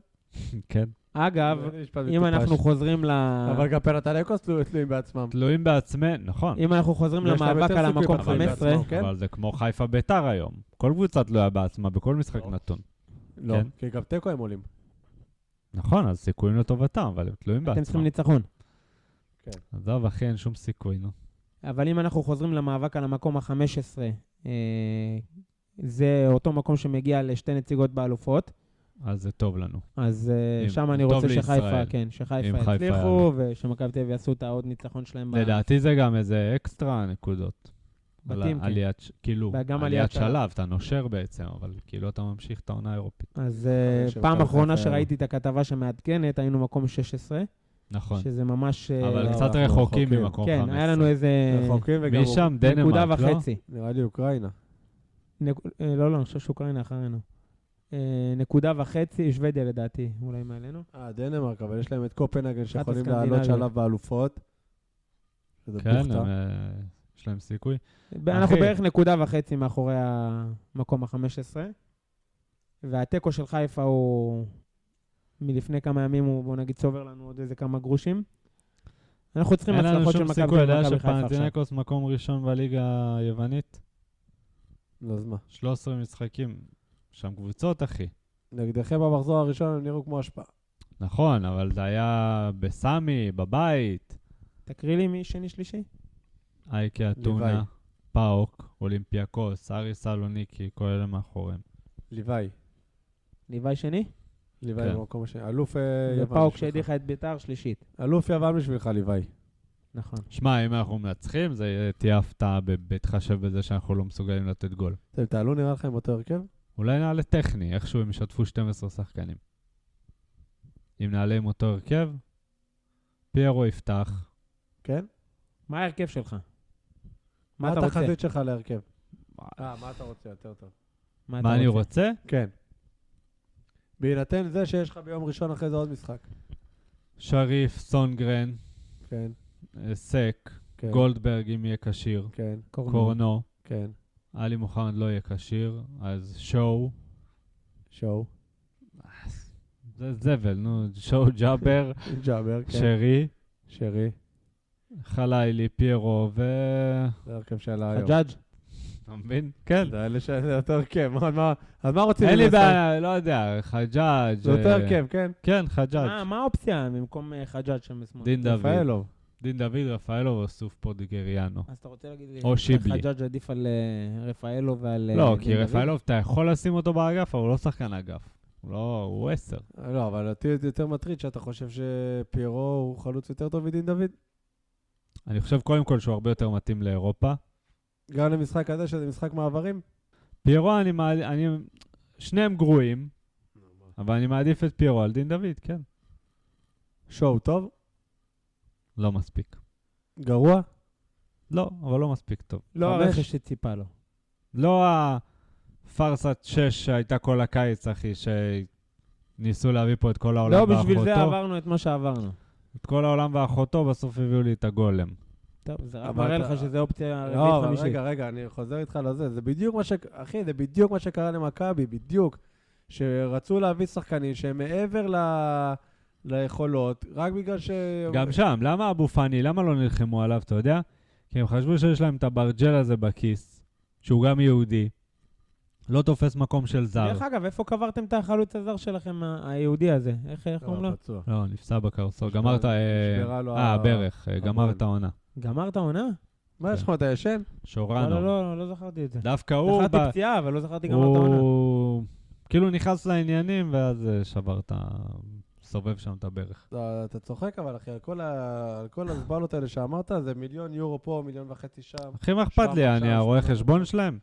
S3: כן,
S2: אגב,
S4: זה משפט
S2: אם
S4: מטופש.
S2: אנחנו חוזרים ל...
S4: אבל גם פנתנייקוס תלו- תלויים בעצמם.
S3: תלויים בעצמם, נכון.
S2: אם אנחנו חוזרים
S4: יש להם
S2: למאבק
S4: יותר
S2: על
S4: סיכוי
S2: המקום
S4: בפרק
S3: אבל זה-
S2: 15,
S4: בעצמו. כן?
S3: אבל זה כמו חיפה ביתר היום. כל קבוצה תלויה בעצמה בכל משחק
S4: לא.
S3: נתון.
S4: לא,
S3: כן.
S4: כי גם תיקו הם עולים.
S3: נכון, אז סיכויים לטובתם, אבל הם תלויים
S2: אתם
S3: בעצמם.
S2: צריכים ניצחון.
S3: עזוב, אחי, אין שום סיכוי, נו.
S2: אבל אם אנחנו חוזרים למאבק על המקום ה-15, אה, זה אותו מקום שמגיע לשתי נציגות באלופות,
S3: אז זה טוב לנו.
S2: אז אה,
S3: אם-
S2: שם אני
S3: טוב
S2: רוצה שחיפה,
S3: לישראל.
S2: כן,
S3: אם
S2: שחיפה
S3: חיפה
S2: יצליחו, ושמכבי תל אביב יעשו את העוד ניצחון שלהם. ב-
S3: לדעתי זה גם איזה אקסטרה נקודות. על
S2: בתים,
S3: ה-
S2: כן.
S3: עליית, ש- כאילו,
S2: וגם עליית
S3: עליית
S2: שלב.
S3: שלב, אתה נושר בעצם, אבל כאילו אתה ממשיך את העונה האירופית.
S2: אז אה,
S4: אני חושב
S2: פעם
S4: שחיפה
S2: אחרונה
S4: היה-
S2: שראיתי את הכתבה שמעדכנת, היינו מקום 16,
S3: נכון.
S2: שזה ממש... אה,
S3: אבל
S4: לא,
S3: קצת
S4: אנחנו
S3: רחוקים
S4: רחוקים.
S3: ממקום
S2: כן,
S3: 15.
S2: היה לנו איזה
S4: רחוקים וגם...
S3: משם דנמרק,
S2: נקודה
S3: לא?
S2: וחצי.
S4: נראה לי אוקראינה.
S2: נק- אה, לא, לא, אני חושב שאוקראינה אחרינו. אה, נקודה וחצי, שוודיה לדעתי, אולי מעלינו.
S4: אה, דנמרק, אבל יש להם את קופנהגן שיכולים
S2: הסקנדינביות.
S4: לעלות שלב באלופות. שזה
S3: כן,
S4: בוכתה.
S3: הם, אה, יש להם סיכוי.
S2: אנחנו
S3: אחי.
S2: בערך נקודה וחצי מאחורי המקום ה-15, והתיקו של חיפה הוא מלפני כמה ימים, הוא בוא נגיד צובר לנו עוד איזה כמה גרושים. אנחנו צריכים
S3: אין לנו
S2: הצלחות של
S3: שום
S2: מכבי
S3: סיכוי,
S2: תל
S3: אתה
S2: אביב
S3: יודע
S2: ומכבי חיפה עכשיו.
S3: שפנטינקוס מקום ראשון בליגה היוונית?
S4: נו, אז מה?
S3: 13 משחקים. שם קבוצות, אחי.
S4: נגדכם במחזור הראשון הם נראו כמו השפעה.
S3: נכון, אבל זה היה בסמי, בבית,
S2: תקריא לי מי שני שלישי.
S3: אייקה אתונה, פאוק, אולימפיאקוס, ארי סלוניקי, כל אלה מאחוריהם.
S4: ליוואי.
S2: ליוואי שני,
S4: ליוואי
S3: כן.
S4: במקום השני. אלוף אה, יוון.
S2: ופאוק
S4: בשבילך.
S2: שהדיחה את ביתר שלישית.
S4: אלוף יוון בשבילך, ליוואי.
S2: נכון.
S3: שמע, אם אנחנו מנצחים, זה יהיה- תהיה הפתעה ב- בהתחשב בזה שאנחנו לא מסוגלים לתת גול.
S4: אתם תעלו נראה לכם אותו הרכב?
S3: אולי נעלה טכני, איכשהו הם ישתפו 12 שחקנים. אם נעלה עם אותו הרכב, פיירו יפתח,
S4: כן?
S2: מה ההרכב שלך?
S4: מה
S2: מה אתה רוצה?
S4: התחזית שלך להרכב? אה, מה אתה רוצה? יותר טוב.
S2: אתה
S3: מה אני רוצה?
S4: כן. בהינתן זה שיש לך ביום ראשון אחרי זה עוד משחק.
S3: שריף, סונגרן,
S4: כן,
S3: אה, סק,
S4: כן.
S3: גולדברג אם יהיה כשיר,
S4: כן,
S3: קורנו,
S4: כן.
S3: עלי מוחמד לא יהיה כשיר, אז שואו,
S4: שואו.
S3: זה זבל, נו, שואו ג'אבר,
S4: ג'אבר, כן.
S3: שרי,
S4: שרי.
S3: חלילי, פיירו ו...
S4: זה הרכב שלה היום.
S2: חג'אג'.
S3: אתה מבין? כן.
S4: זה אלה ש- זה אותו הרכב. מה- מה- אז מה רוצים?
S3: אין לי
S4: ממך?
S3: בעיה, לא יודע, חג'אג'.
S4: זה אותו
S3: אה,
S4: הרכב, כן.
S3: כן, חג'אג'.
S2: אה, מה- מה האופציה במקום אה, חג'אג' שם בשמאל?
S3: דין דוד.
S4: רפאלוב.
S3: דין דוד, רפאלו וסוף פודיגריאנו.
S2: אז אתה רוצה להגיד לי
S3: או שיבלי.
S2: שחג'אג' עדיף על אה, רפאלו ועל... אה,
S3: לא,
S2: דין
S3: כי
S2: דוד?
S3: רפאלוב, אתה יכול לשים אותו באגף, אבל הוא לא שחקן אגף. הוא לא, הוא עשר.
S4: לא, אבל אותי זה יותר מטריד שאתה חושב שפיירו הוא חלוץ יותר טוב מדין דוד.
S3: אני חושב קודם כל שהוא הרבה יותר מתאים לאירופה.
S4: גם למשחק הזה, שזה משחק מעברים.
S3: פיירו, אני מעל... אני... שניהם גרועים, אבל אני מעדיף את פיירו על דין דוד, כן.
S4: שואו טוב,
S3: לא מספיק.
S4: גרוע.
S3: לא, אבל לא מספיק טוב.
S2: לא
S4: חמש.
S2: הרכש שציפה לו.
S3: לא הפארסת שש שהייתה כל הקיץ, אחי, שניסו להביא פה את כל העולם
S2: לא,
S3: ואחותו.
S2: בשביל זה עברנו את מה שעברנו.
S3: את כל העולם ואחותו, בסוף הביאו לי את הגולם.
S2: טוב, זה רק
S4: אבל
S2: מראה
S4: אתה-
S2: לך שזו אופציה
S4: לא, אבל
S2: רביעית חמישית.
S4: רגע, רגע, אני חוזר איתך לזה. זה בדיוק מה ש... אחי, זה בדיוק מה שקרה למכבי, בדיוק. שרצו להביא שחקנים שהם מעבר ל... ליכולות, רק בגלל ש... אה,
S3: גם שם, למה אבו פאני, למה לא נלחמו עליו, אתה יודע? כי הם חשבו שיש להם את הברג'ל הזה בכיס, שהוא גם יהודי, לא תופס מקום של זר.
S2: דרך אגב, איפה קברתם את החלוץ הזר שלכם, ה- היהודי הזה? איך איך קוראים לו?
S4: פצוע.
S3: לא, נפסע בקרסול,
S4: נשבר-
S3: גמרת... אה,
S4: נשברה לו
S3: אה,
S4: ה-
S3: ברך, אה, גמרת העונה.
S2: גמרת עונה?
S4: מה
S3: כן.
S4: יש לך, אתה ישן?
S2: לא, לא,
S3: שורנו.
S2: לא, לא זכרתי את זה.
S3: דווקא הוא...
S2: זכרתי
S3: ב-
S2: פציעה, אבל לא זכרתי גמרת עונה.
S3: הוא כאילו נכנס לעניינים, ואז אה, שבר את ה... סובב שם את הברך.
S4: אתה אתה צוחק, אבל אחי, על כל ה- על כל הזבלות האלה שאמרת, זה מיליון יורו פה, מיליון וחצי שם.
S3: אחי, מה אכפת לי,
S4: שם,
S3: אני
S4: שם,
S3: הרואה
S2: לא
S4: שם.
S3: חשבון שלהם?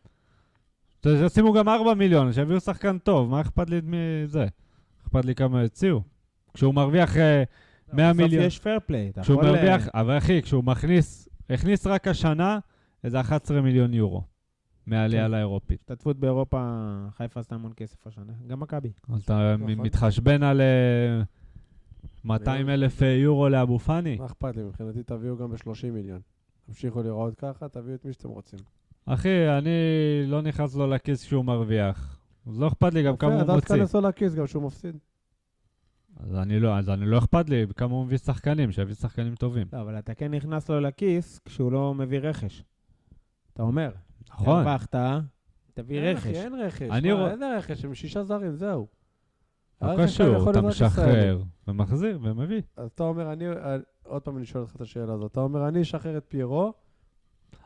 S3: ש- שישימו גם 4 מיליון, שיביאו שחקן טוב, מה אכפת לי מזה? אכפת לי כמה יוציאו. כשהוא מרוויח אה, 100 מיליון...
S2: לא, בסוף יש פייר פליי, אתה
S3: כשהוא
S2: יכול... אה,
S3: מרוויח... אבל אחי, כשהוא מכניס... הכניס רק השנה איזה 11 מיליון יורו מהעלייה
S2: כן.
S3: לאירופית.
S2: השתתפות באירופה, חיפה עשתה המון כסף השנה. גם מכבי.
S3: אז אתה
S4: נכון.
S3: מתחשבן על
S2: לא-
S3: 200 אלף אה, יורו לאבו פאני?
S4: מה אכפת לי? מבחינתי תביאו גם ב-30 מיליון. תמשיכו לראות ככה, תביאו את מי שאתם רוצים.
S3: אחי, אני לא נכנס לו לכיס שהוא מרוויח. אז לא אכפת לי גם כמה
S4: אופיר, אז
S3: הוא
S4: אל
S3: מוציא.
S4: תיכנס לו לכיס גם שהוא מפסיד.
S3: אז אני לא, אז אני לא אכפת לי כמה הוא מביא שחקנים, שיביא שחקנים טובים.
S2: לא, אבל אתה כן נכנס לו לכיס כשהוא לא מביא רכש. אתה אומר,
S3: נכון.
S4: אה,
S2: הרווחת, תביא
S4: אין, אחי,
S2: רכש.
S4: אין רכש.
S3: אני
S4: מה,
S3: רוא-
S4: אין רכש, הם שישה זרים, זהו.
S3: לא
S4: הרכש שלך
S3: קשור,
S4: יכול
S3: אתה
S4: להיות רק ישראלי.
S3: משחרר ומחזיר ומביא.
S4: אז אתה אומר, אני... אה, עוד פעם אני שואל אותך את השאלה הזאת. אתה אומר, אני אשחרר את פיירו,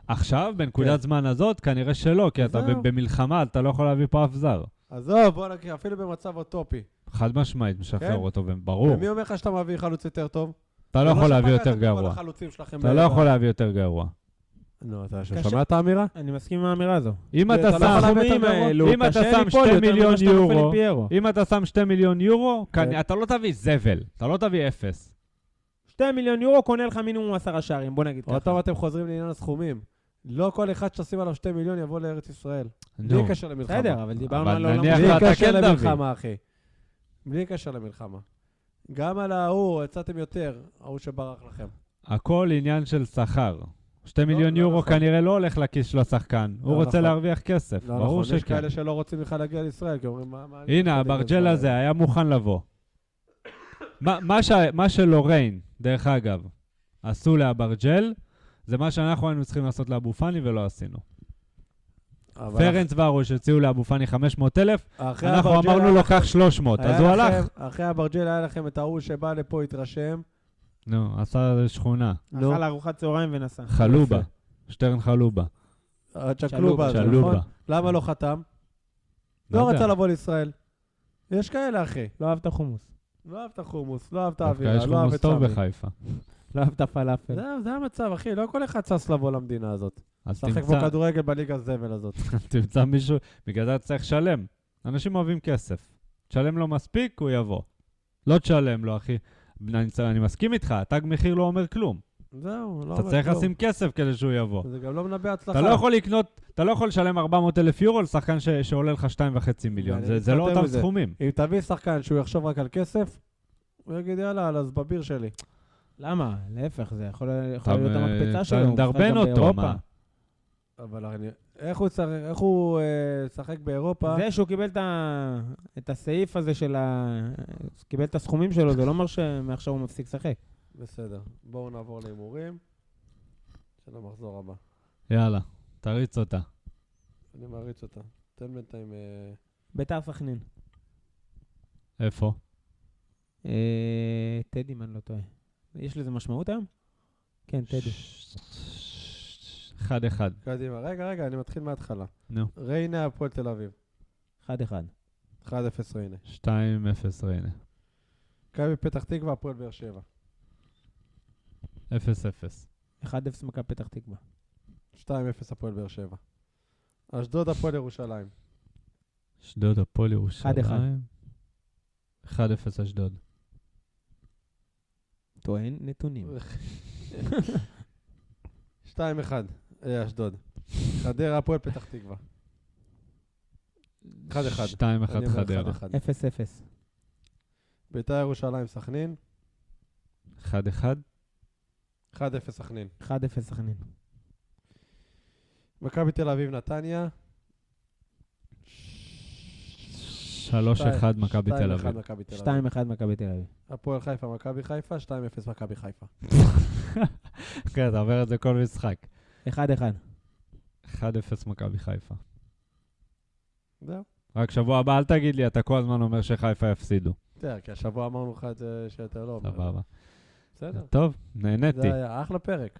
S3: עכשיו, בנקודת זמן הזאת, כנראה שלא, כי אתה
S4: כן. זהו.
S3: ב- במלחמה, אתה לא יכול להביא פה אף זר.
S4: עזוב, בוא נגיד, אפילו במצב אטופי.
S3: חד משמעית, משחרר
S4: כן?
S3: אותו, ברור.
S4: ומי אומר לך שאתה מביא חלוץ יותר טוב?
S3: אתה לא
S4: זה
S3: יכול להביא
S4: שפגעת
S3: יותר
S4: את כל
S3: גרוע.
S4: החלוצים שלכם
S3: אתה לא
S4: בעבר.
S3: יכול להביא יותר גרוע.
S4: נו, אתה
S2: קשה.
S4: שומע את האמירה?
S2: אני מסכים עם האמירה הזו.
S3: אם אתה
S4: אתה לא יכול
S3: שם...
S4: להביא
S2: הסכומים
S4: יותר גרוע?
S2: האלו,
S3: אם אתה
S2: קשה
S3: שם
S2: ליפול
S3: שתי
S2: יותר ממה
S3: מיליון
S2: שאתה נופל עם
S3: יורו,
S2: פיירו.
S3: אם אתה שם 2 מיליון יורו,
S4: כן.
S3: כנ- אתה לא תביא זבל, אתה לא תביא אפס.
S2: 2 מיליון יורו קונה לך מינימום 10 שערים, בוא נגיד
S4: עוד
S2: ככה.
S4: פעם אתם חוזרים לעניין הסכומים. לא כל אחד שתשים עליו שתי מיליון יבוא לארץ ישראל.
S3: נו,
S4: בלי קשר למלחמה.
S2: בסדר, אבל דיברנו
S3: לא. אבל
S2: על העולם.
S3: נניח-
S2: הזה.
S4: בלי
S3: אתה
S4: קשר
S3: כן תביא.
S4: למלחמה, אחי. בלי קשר למלחמה. גם על ההוא יצאתם יותר, ההוא שברח לכם.
S3: הכל עניין של שכר. 2
S4: לא,
S3: מיליון
S4: לא
S3: יורו
S4: נכון.
S3: כנראה לא הולך לכיס של השחקן,
S4: לא
S3: הוא רוצה
S4: נכון.
S3: להרוויח כסף,
S4: לא נכון,
S3: ברור
S4: יש
S3: שכן.
S4: כאלה שלא רוצים בכלל להגיע לישראל, כי אומרים, מה... מה אני
S3: הנה,
S4: מתעסק
S3: הברג'ל
S4: בזה?"
S3: הזה היה מוכן לבוא. מה- מה שה- מה שלוריין, דרך אגב, עשו לאברג'ל, זה מה שאנחנו היינו צריכים לעשות לאבו פאני ולא עשינו.
S4: אבל
S3: פרנס וארוש הציעו לאבו פאני 500,000,
S4: אחרי
S3: אנחנו
S4: הברג'ל
S3: אמרנו
S4: היה
S3: לו קח 300,
S4: היה
S3: אז הוא הלך.
S4: לכם- אחרי הברג'ל היה לכם את ההוא שבא לפה, התרשם.
S3: נו, עשה שכונה.
S4: נו,
S2: אכל ארוחת צהריים ונסע.
S3: לא.
S4: נכון,
S3: חלובה. שטרן חלובה.
S4: הצ'קלובה, הזה, נכון?
S3: שלובה.
S4: למה לא חתם?
S3: לא
S4: לא
S3: יודע.
S4: רצה לבוא לישראל. יש כאלה, אחי.
S2: לא אהב את החומוס.
S4: לא אהב את החומוס, לא אהב את
S3: דווקא
S4: האווירה,
S3: יש
S4: לא אהב
S3: חומוס
S4: את
S3: טוב
S4: סמי.
S3: בחיפה.
S2: לא אהב את הפלאפל.
S4: זהו, זה המצב, אחי. לא כל אחד שש לבוא למדינה הזאת.
S3: אז
S4: לשחק
S3: תמצא-
S4: פה כדורגל בליגה הזבל הזאת.
S3: תמצא מישהו, בגלל זה אתה צריך לשלם. אנשים אוהבים כסף. תשלם לו מספיק, הוא יבוא. לא תשלם לו, אחי. אני צ- אני מסכים איתך, תג מחיר לא אומר כלום.
S4: זהו, לא
S3: אתה
S4: אומר
S3: צריך
S4: כלום.
S3: לשים כסף כדי שהוא יבוא.
S4: זה גם לא מנבא הצלחה.
S3: אתה לא יכול לקנות, אתה לא יכול לשלם 400 אלף יורו לשחקן ש- שעולה לך 2.5 מיליון.
S4: אני
S3: זה-
S4: אגיד
S3: זה
S4: לך
S3: לא
S4: יותר
S3: אותם
S4: מזה.
S3: סכומים.
S4: אם תביא שחקן שהוא יחשוב רק על כסף, הוא יגיד, יאללה, אז בביר שלי.
S2: למה? להפך, זה יכול יכול
S3: אתה
S2: להיות המקפצה
S3: אתה
S2: שלו. הוא משחק
S3: מדרבן
S2: גם
S3: אותו,
S2: באירופה.
S3: מה?
S4: אבל אני... איך הוא ישחק- איך הוא אה, ישחק באירופה?
S2: זה שהוא קיבל את ה- את הסעיף הזה של ה... קיבל את הסכומים שלו, זה לא אומר שמעכשיו הוא מפסיק לשחק.
S4: בסדר. בואו נעבור להימורים של המחזור הבא.
S3: יאללה, תריץ אותה.
S4: אני מעריץ אותה. תן בינתיים... אה,
S2: ביתר סכנין.
S3: איפה?
S2: אה, טדי, אם אני לא טועה. יש לזה משמעות היום? כן, טדי.
S3: אחד אחד.
S4: קדימה. רגע, רגע, אני מתחיל מההתחלה.
S3: נו.
S4: ריינה, הפועל תל אביב.
S2: 1-1.
S4: 1-0 ריינה.
S3: 2-0 ריינה.
S4: מכבי פתח תקווה, הפועל באר שבע.
S3: 0-0.
S2: 1-0 מכבי פתח תקווה.
S4: 2-0 הפועל באר שבע. אשדוד, הפועל ירושלים.
S3: אשדוד הפועל
S2: אחד, אחד.
S3: ירושלים. 1-0 אשדוד.
S2: טוען נתונים.
S4: 2-1, אה, אשדוד. חדרה, הפועל פתח תקווה. 1-1.
S3: 2-1
S4: אני אומר
S3: חדרה.
S4: 1-1.
S2: 0-0.
S4: בית"ר ירושלים, סכנין.
S3: 1-1.
S4: 1-0 סכנין.
S2: 1-0 סכנין.
S4: מכבי תל אביב, נתניה.
S3: 3-1 מכבי
S4: 2-1
S3: תל אביב.
S4: מכבי תל אביב.
S2: 2-1 מכבי תל אביב.
S4: הפועל חיפה, מכבי חיפה, 2-0 מכבי חיפה.
S3: כן, אתה עובר את זה כל משחק.
S2: 1-1.
S3: 1-0 מכבי חיפה.
S4: זהו.
S3: רק שבוע הבא, אל תגיד לי, אתה כל הזמן אומר שחיפה יפסידו.
S4: בסדר, כי השבוע אמרנו לך את זה שאתה לא אומר.
S3: סבבה.
S4: בסדר.
S3: טוב, נהניתי.
S4: זה היה אחלה פרק.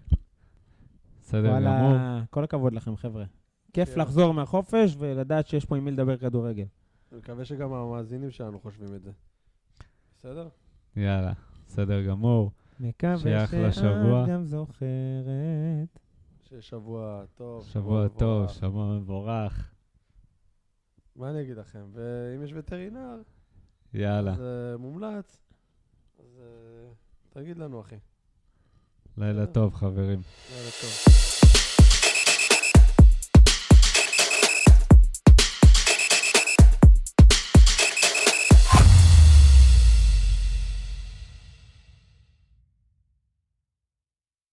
S3: בסדר גמור.
S2: וואלה, כל הכבוד לכם, חבר'ה. כיף
S4: כן.
S2: לחזור מהחופש ולדעת שיש פה עם מי לדבר כדורגל.
S4: אני מקווה שגם המאזינים שלנו חושבים את זה. בסדר?
S3: יאללה, בסדר גמור. שיהיה
S2: מקווה
S3: אחלה שבוע.
S2: שאת גם זוכרת.
S4: שיהיה שבוע טוב.
S3: שבוע טוב,
S4: מבורך.
S3: שבוע מבורך.
S4: מה אני אגיד לכם? ואם יש וטרינר,
S3: יאללה,
S4: זה מומלץ, אז אה, תגיד לנו, אחי.
S3: לילה טוב, חברים.
S4: לילה טוב.